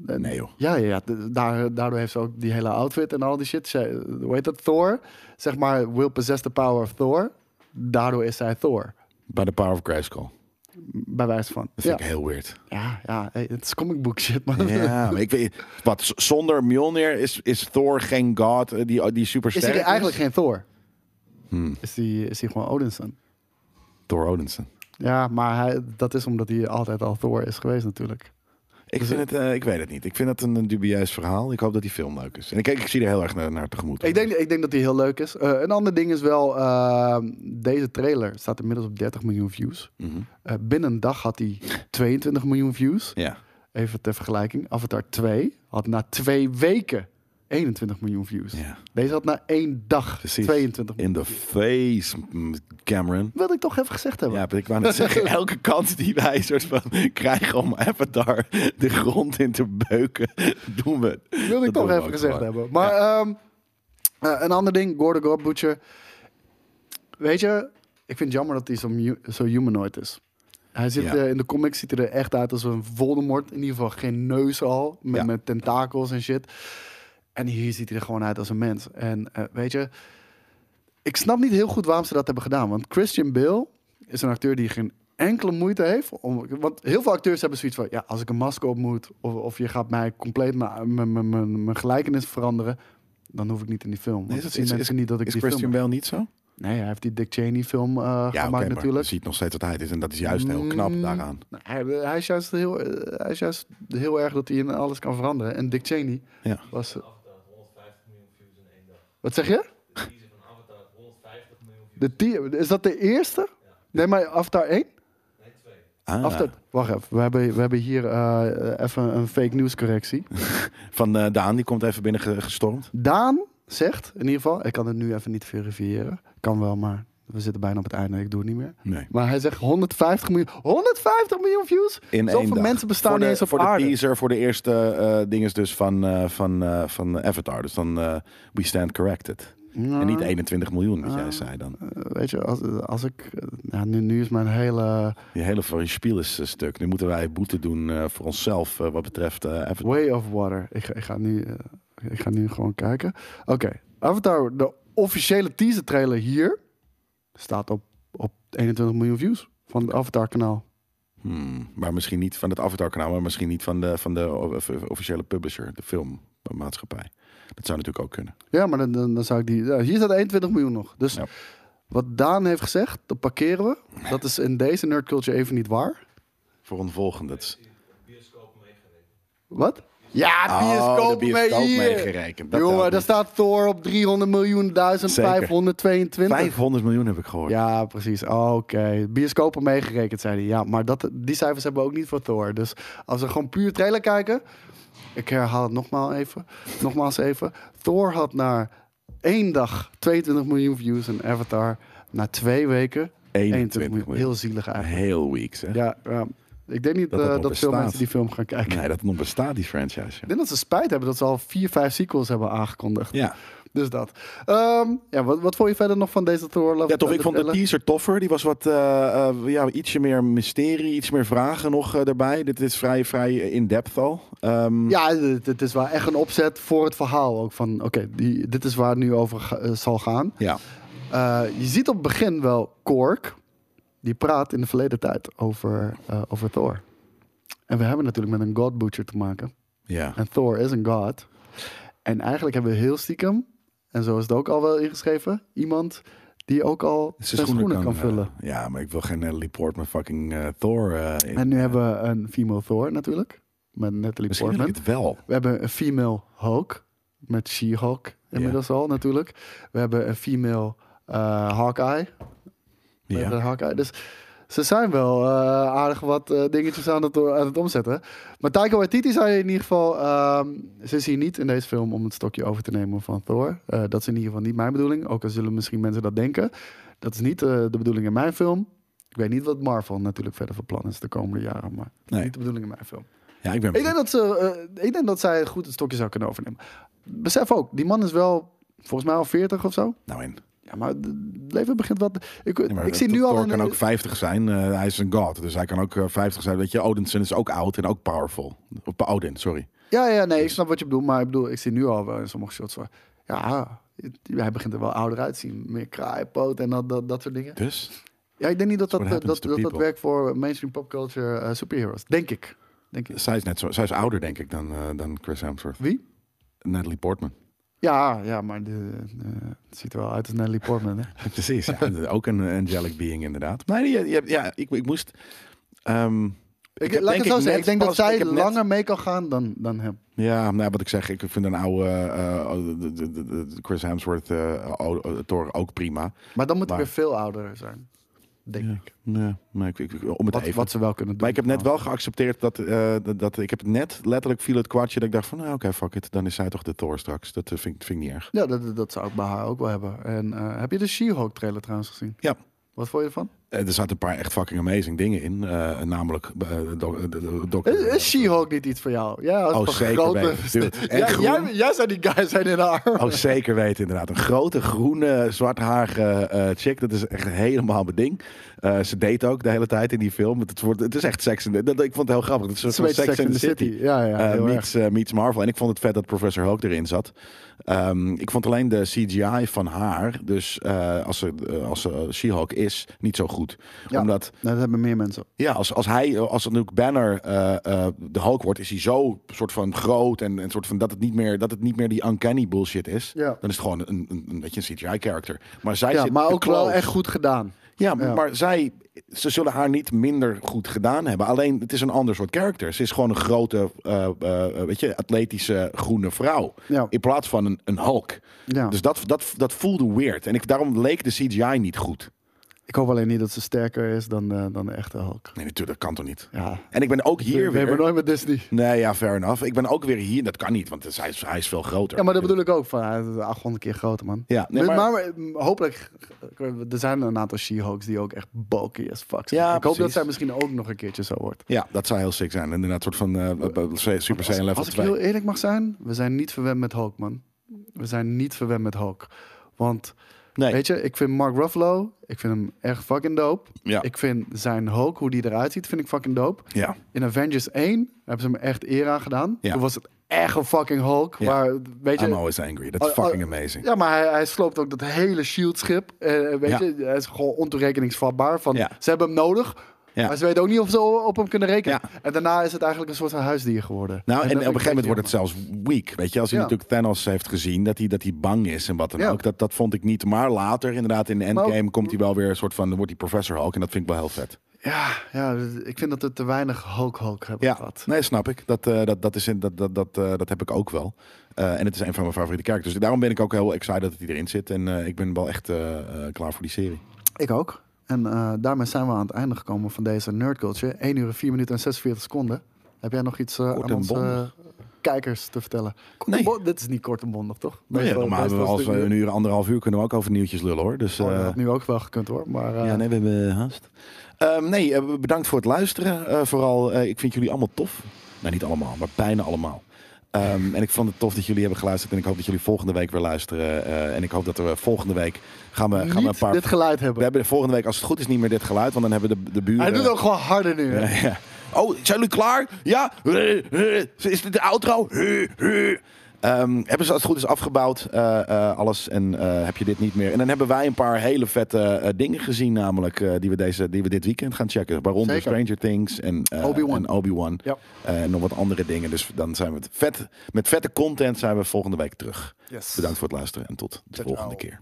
En-
Nee, joh.
Ja, ja, ja. de- daar, daardoor heeft ze ook die hele outfit en al die shit. Zij, hoe heet dat? Thor. Zeg maar, will possess the power of Thor. Daardoor is zij Thor.
Bij de Power of Grayskull.
Bij wijze van.
Dat
ja.
vind ik heel weird.
ja, ja. hey, het is comic book shit, man.
Ja, maar ik weet... Wat, z- zonder Mjolnir is, is Thor geen god eh, die, die super
Is
sterk Hmm.
hij eigenlijk geen Thor? Is hij is die gewoon Odinson?
Thor Odinson.
Ja, maar hij, dat is omdat hij altijd al Thor is geweest natuurlijk.
Ik, vind het, eh, ik weet het niet. Ik vind het een, een dubieus verhaal. Ik hoop dat die film leuk is. En ik, ik zie er heel erg naar, naar tegemoet.
Ik denk, ik denk dat hij heel leuk is. Eh, een ander ding is wel, ehm, deze trailer staat inmiddels op 30 miljoen views.
Mhm.
Eh, binnen een dag had hij 22 miljoen views.
Ja.
Even ter vergelijking, Avatar 2 had na twee weken 21 miljoen views.
Ja.
Deze had na één dag
Precies.
22 miljoen.
In the face, m- Cameron.
Wilde ik toch even gezegd hebben.
Ja, ik wou net zeggen, elke kans die wij soort van krijgen om Avatar de grond in te beuken, doen we.
Dat wilde ik toch even gezegd hebben. Maar ehm, eh, een ander ding, Gordon God Butcher. Weet je, ik vind het jammer dat hij zo, mu- zo humanoid is. Hij zit
Ja.
eh, in de comics, ziet hij er echt uit als een Voldemort. In ieder geval geen neus al, met,
Ja.
met tentakels en shit. En hier ziet hij er gewoon uit als een mens. En eh, weet je, ik snap niet heel goed waarom ze dat hebben gedaan. Want Christian Bale is een acteur die geen enkele moeite heeft. Om, want heel veel acteurs hebben zoiets van... ja, als ik een masker op moet... of, of je gaat mij compleet mijn- mijn- mijn mijn- mijn gelijkenis veranderen... dan hoef ik niet in die film. Want
Is,
zien
is, is,
mensen niet dat ik
is
die
Christian
film...
Bale niet zo?
Nee, hij heeft die Dick Cheney film eh,
oké,
gemaakt
maar
natuurlijk.
Je ziet nog steeds dat hij het is en dat is juist heel knap daaraan.
Nou, Hij, hij is juist heel, eh, hij is juist heel erg dat hij in alles kan veranderen. En Dick Cheney
Ja.
was... eh, Wat zeg je? De teaser is dat de eerste? Nee, maar Avatar 1?
Ah,
After, wacht even, we hebben, we hebben hier eh, even een fake news correctie.
Van eh, Daan, die komt even binnen ge- gestormd.
Daan zegt, in ieder geval, ik kan het nu even niet verifiëren. Kan wel, maar We zitten bijna op het einde, ik doe het niet meer.
Nee.
Maar hij zegt 150 miljoen. 150 miljoen views?
In één
Zoveel
dag.
mensen bestaan
voor de,
niet eens op
Voor
aarde.
de teaser, voor de eerste eh ding is dus van, eh, van, eh, van Avatar. Dus dan eh, We Stand Corrected. En
Ah.
niet 21 miljoen, wat jij zei dan.
Eh, Nou, weet je, als, als ik... eh, nou, nu, nu is mijn hele
Die hele van spiel is eh, stuk. Nu moeten wij boete doen eh, voor onszelf eh, wat betreft eh, Avatar.
way of water. Ik, ga- ik, ga, nu, eh, ik ga nu gewoon kijken. Oké, Avatar, de officiële teaser trailer hier... staat op, op 21 miljoen views van het Avatar kanaal.
Hmm, maar misschien niet van het Avatar-kanaal, maar misschien niet van de, van de o- of- officiële publisher, de filmmaatschappij. Dat zou natuurlijk ook kunnen.
Ja, maar dan, dan, dan zou ik die... ja, hier staat 21 miljoen nog. Dus
Ja.
wat Daan heeft gezegd, dat parkeren we. Dat is in deze nerdculture even niet waar.
Voor een volgende. Dat is-
Wat? Ja,
Oh, de
bioscoop,
bioscoop
mee hier.
meegerekend. Dat telt
Jongen, daar
niet.
staat Thor op 300 miljoen 1522.
500 miljoen heb ik gehoord.
Ja, precies. Oké. Bioscopen meegerekend, zei hij. Ja, maar dat, die cijfers hebben we ook niet voor Thor. Dus als we gewoon puur trailer kijken... Ik herhaal het nogmaals even. Nogmaals even. Thor had na één dag 22 miljoen views en Avatar. Na twee weken
21 miljoen.
Heel zielig eigenlijk.
Heel weak, zeg.
Ja, ja. ik denk niet
Dat
dat,
dat nog
dat, veel
bestaat.
mensen die film gaan kijken.
Nee, dat nog bestaat, die franchise.
Ik denk dat ze spijt hebben dat ze al vier, vijf sequels hebben aangekondigd.
Ja.
Dus dat. Ehm, ja, wat, wat vond je verder nog van deze Thor Love
Ja, toch. Ik
Thunder
vond de
trailer?
teaser toffer. Die was wat, eh, eh, ja, ietsje meer mysterie, iets meer vragen nog eh, erbij. Dit is vrij, vrij in-depth al. Ehm,
Ja, het, het is wel echt een opzet voor het verhaal ook. Van oké, die- dit is waar het nu over ga- eh, zal gaan.
ja.
Eh, je ziet op het begin wel Kork. Die praat in de verleden tijd over, eh, over Thor. En we hebben natuurlijk met een God Butcher te maken.
Ja.
En Thor is een god. En eigenlijk hebben we heel stiekem, en zo is het ook al wel ingeschreven, iemand die ook al zijn, schoenen, kan,
eh,
vullen.
ja, maar ik wil geen Natalie Portman fucking eh, Thor. eh, in-
en nu hebben we een female Thor natuurlijk, met Natalie
Misschien wil
Portman.
ik het wel.
We hebben een female Hulk, met She-Hulk inmiddels al natuurlijk. We hebben een female eh, Hawkeye, met
Ja.
de Hawkeye. Dus ze zijn wel eh, aardig wat eh, dingetjes aan het, aan het omzetten. Maar Taika Waititi zei in ieder geval... ehm, ze is hier niet in deze film om het stokje over te nemen van Thor. Eh, dat is in ieder geval niet mijn bedoeling. Ook al zullen misschien mensen dat denken. Dat is niet eh, de bedoeling in mijn film. Ik weet niet wat Marvel natuurlijk verder van plan is de komende jaren. Maar dat is
Nee.
niet de bedoeling in mijn film.
Ja, ik ben
Ik denk dat, ze, eh, ik denk dat zij goed het stokje zou kunnen overnemen. Besef ook, die man is wel volgens mij al 40 of zo.
Nou, en,
Ja, maar het leven begint wat... Ik,
Ja, maar
ik zie
Thor
nu al... een-
kan ook 50 zijn. eh, hij is een god, dus hij kan ook eh, 50 zijn. Weet je, Odinson is ook oud en ook powerful. Of Odin, sorry.
Ja, ja, nee, ik snap wat je bedoelt. Maar ik bedoel, ik zie nu al wel in sommige shots van... Ja, het- hij begint er wel ouder uit te zien. Meer kraaipoot en dat, dat, dat soort dingen.
Dus
Ja, ik denk niet dat dat,
That's what
dat,
happens
dat,
to
dat
people.
werkt voor mainstream popculture eh superheroes. Denk ik. Denk ik.
zij is, net zo, zij is ouder, denk ik, dan, eh, dan Chris Hemsworth.
Wie?
Natalie Portman.
Ja, ja, maar de, eh, het ziet er wel uit als Nelly Portman. Hè?
Precies, ja. ook een angelic being inderdaad. Maar je, je, ja, ik, ik moest... ehm,
Ik,
heb
laat ik het zo
net
zeggen. Ik denk dat
pas-
zij
ik heb net-
langer mee kan gaan dan, dan hem.
Ja, nou, wat ik zeg, ik vind een oude eh, eh, de- de- de- de Chris Hemsworth eh oude- eh, Thor ook prima.
Maar dan moet hij
Maar-
weer veel ouder zijn. Denk ik.
Nee, maar ik, ik- ik- om het
Wat,
even.
wat Oh. ze wel kunnen doen.
maar ik heb net wel geaccepteerd dat, eh, dat, dat- ik heb net letterlijk viel het kwartje dat ik dacht van, nou, oké, fuck it, dan is zij toch de Thor straks. Dat eh, vind, ik- vind ik niet erg.
Ja, dat, dat zou ik bij haar ook wel hebben. En eh, heb je de She-Hulk trailer trouwens gezien?
Ja.
Wat vond je ervan?
Eh, Er zaten een paar echt fucking amazing dingen in. eh, namelijk eh doc- eh, de- de- de-
Is, is She-Hulk niet iets voor jou? Ja, als
Oh,
van
zeker weten. Dude, en
Jij-
groen.
jij, jij zou die guy zijn in haar.
Oh, zeker weten, inderdaad. Een grote, groene, zwarthaarige eh, chick. Dat is echt helemaal mijn ding. Eh, ze date ook de hele tijd in die film. Het, wordt, het is echt seks. In the- dat, ik vond het heel grappig. Het is een
Ze
soort
weet
van Sex in the City.
Ja, ja,
Eh,
heel erg.
meets, eh, meets Marvel. En ik vond het vet dat Professor Hulk erin zat. Ehm, ik vond alleen de CGI van haar, dus eh, als ze, eh, als ze eh, She-Hulk is, niet zo goed.
Ja.
Omdat
Nou, dat hebben meer mensen.
ja, als, als hij, als het nu Banner eh, eh, de Hulk wordt, is hij zo soort van groot en, en soort van dat het niet meer, dat het niet meer die uncanny bullshit is.
Ja.
Dan is het gewoon een, een, een beetje een CGI-character. Maar zij
Ja,
zit
maar
te
ook wel
close.
echt goed gedaan.
Ja, maar,
Ja.
maar zij, ze zullen haar niet minder goed gedaan hebben. Alleen, het is een ander soort character. Ze is gewoon een grote, eh, eh, weet je, atletische groene vrouw.
Ja.
In plaats van een, een Hulk.
Ja.
Dus dat, dat, dat voelde weird. En ik, daarom leek de CGI niet goed.
Ik hoop alleen niet dat ze sterker is dan, eh, dan de echte Hulk.
Nee, natuurlijk, dat kan toch niet.
Ja.
En ik ben ook hier
we hebben
weer...
nooit met Disney.
Nee, ja, fair enough. Ik ben ook weer hier. Dat kan niet, want het is- hij is, hij is veel groter.
Ja, maar dat bedoel ik ook. Van, eh, 800 keer groter, man.
Ja, nee,
maar,
maar-
maar, eh, hopelijk... Er zijn een aantal She-Hulks die ook echt bulky as fuck zijn.
Ja,
ik hoop dat
precies.
zij misschien ook nog een keertje zo wordt.
Ja, dat zou heel sick zijn. Inderdaad, soort van eh, b- b- Super Saiyan level
Als ik
2.
heel eerlijk mag zijn, we zijn niet verwend met Hulk, man. We zijn niet verwend met Hulk. Want,
Nee.
weet je, ik vind Mark Ruffalo, ik vind hem echt fucking dope.
Ja.
Ik vind zijn Hulk, hoe die eruit ziet, vind ik fucking dope.
Ja.
In Avengers 1 hebben ze hem echt eer aan gedaan.
Ja.
Toen was het echt een fucking Hulk.
Ja.
Maar, weet je,
I'm always angry. That's
Oh, oh,
fucking amazing.
Ja, maar hij, hij sloopt ook dat hele shield-schip. Eh, weet
Ja.
je, hij is gewoon ontoerekeningsvatbaar. Van,
Ja.
Ze hebben hem nodig,
Ja.
maar ze weten ook niet of ze op hem kunnen rekenen.
Ja.
En daarna is het eigenlijk een soort van huisdier geworden.
Nou, en,
dat
op een
vind ik
gegeven moment
echt
wordt het zelfs weak. Weet je, als hij
Ja.
natuurlijk Thanos heeft gezien dat hij, dat hij bang is en wat dan
Ja.
ook. Dat, dat vond ik niet. Maar later, inderdaad, in de
Maar ook-
endgame komt hij wel weer een soort van. Dan wordt hij Professor Hulk. En dat vind ik wel heel vet.
jammer. Ja, dus ik vind dat we te weinig Hulk-Hulk hebben
Ja,
gehad.
nee, snap ik. Dat, eh, dat, dat, is in, dat, dat, dat, eh, dat heb ik ook wel. Eh, en het is een van mijn favoriete characters. Dus daarom ben ik ook heel excited dat hij erin zit. En eh, ik ben wel echt eh, eh, klaar voor die serie.
Ik ook. En eh, daarmee zijn we aan het einde gekomen van deze Nerd Culture. 1 uur, 4 minuten en 46 seconden. Heb jij nog iets eh,
Kort
aan
en
onze
bondig.
eh, kijkers te vertellen? Kort en
Nee.
bon- Dit is niet kort en bondig, toch?
Nou ja,
Meestal-
normaal hebben we
meestal
als
is
we
het
een uur, anderhalf uur kunnen we ook over nieuwtjes lullen hoor. Dus,
Oh, dat
eh,
had nu ook wel gekund hoor. Maar, eh,
ja, nee, we hebben haast. Ehm, nee, eh, bedankt voor het luisteren. Eh, vooral, eh, ik vind jullie allemaal tof. Nou, niet allemaal, maar bijna allemaal. Ehm, en ik vond het tof dat jullie hebben geluisterd. En ik hoop dat jullie volgende week weer luisteren. Eh, en ik hoop dat we volgende week gaan we, gaan we een
niet
paar...
dit geluid hebben.
we hebben volgende week, als het goed is, niet meer dit geluid. Want dan hebben de, de buren...
Hij doet ook gewoon harder nu. hè?
Ja. Oh, zijn jullie klaar? Ja? Eh, Is dit de outro? Eh, Ehm, hebben ze als het goed is afgebouwd, eh, eh, alles, en eh, heb je dit niet meer. En dan hebben wij een paar hele vette eh, dingen gezien namelijk, eh, die, we deze, die we dit weekend gaan checken. Waaronder
Zeker.
Stranger Things en eh,
Obi-Wan.
en Obi-Wan.
Ja.
Eh, en nog wat andere dingen. Dus dan zijn we het vet, met vette content zijn we volgende week terug.
Yes.
Bedankt voor het luisteren en tot de
Ciao,
volgende
ciao.
keer.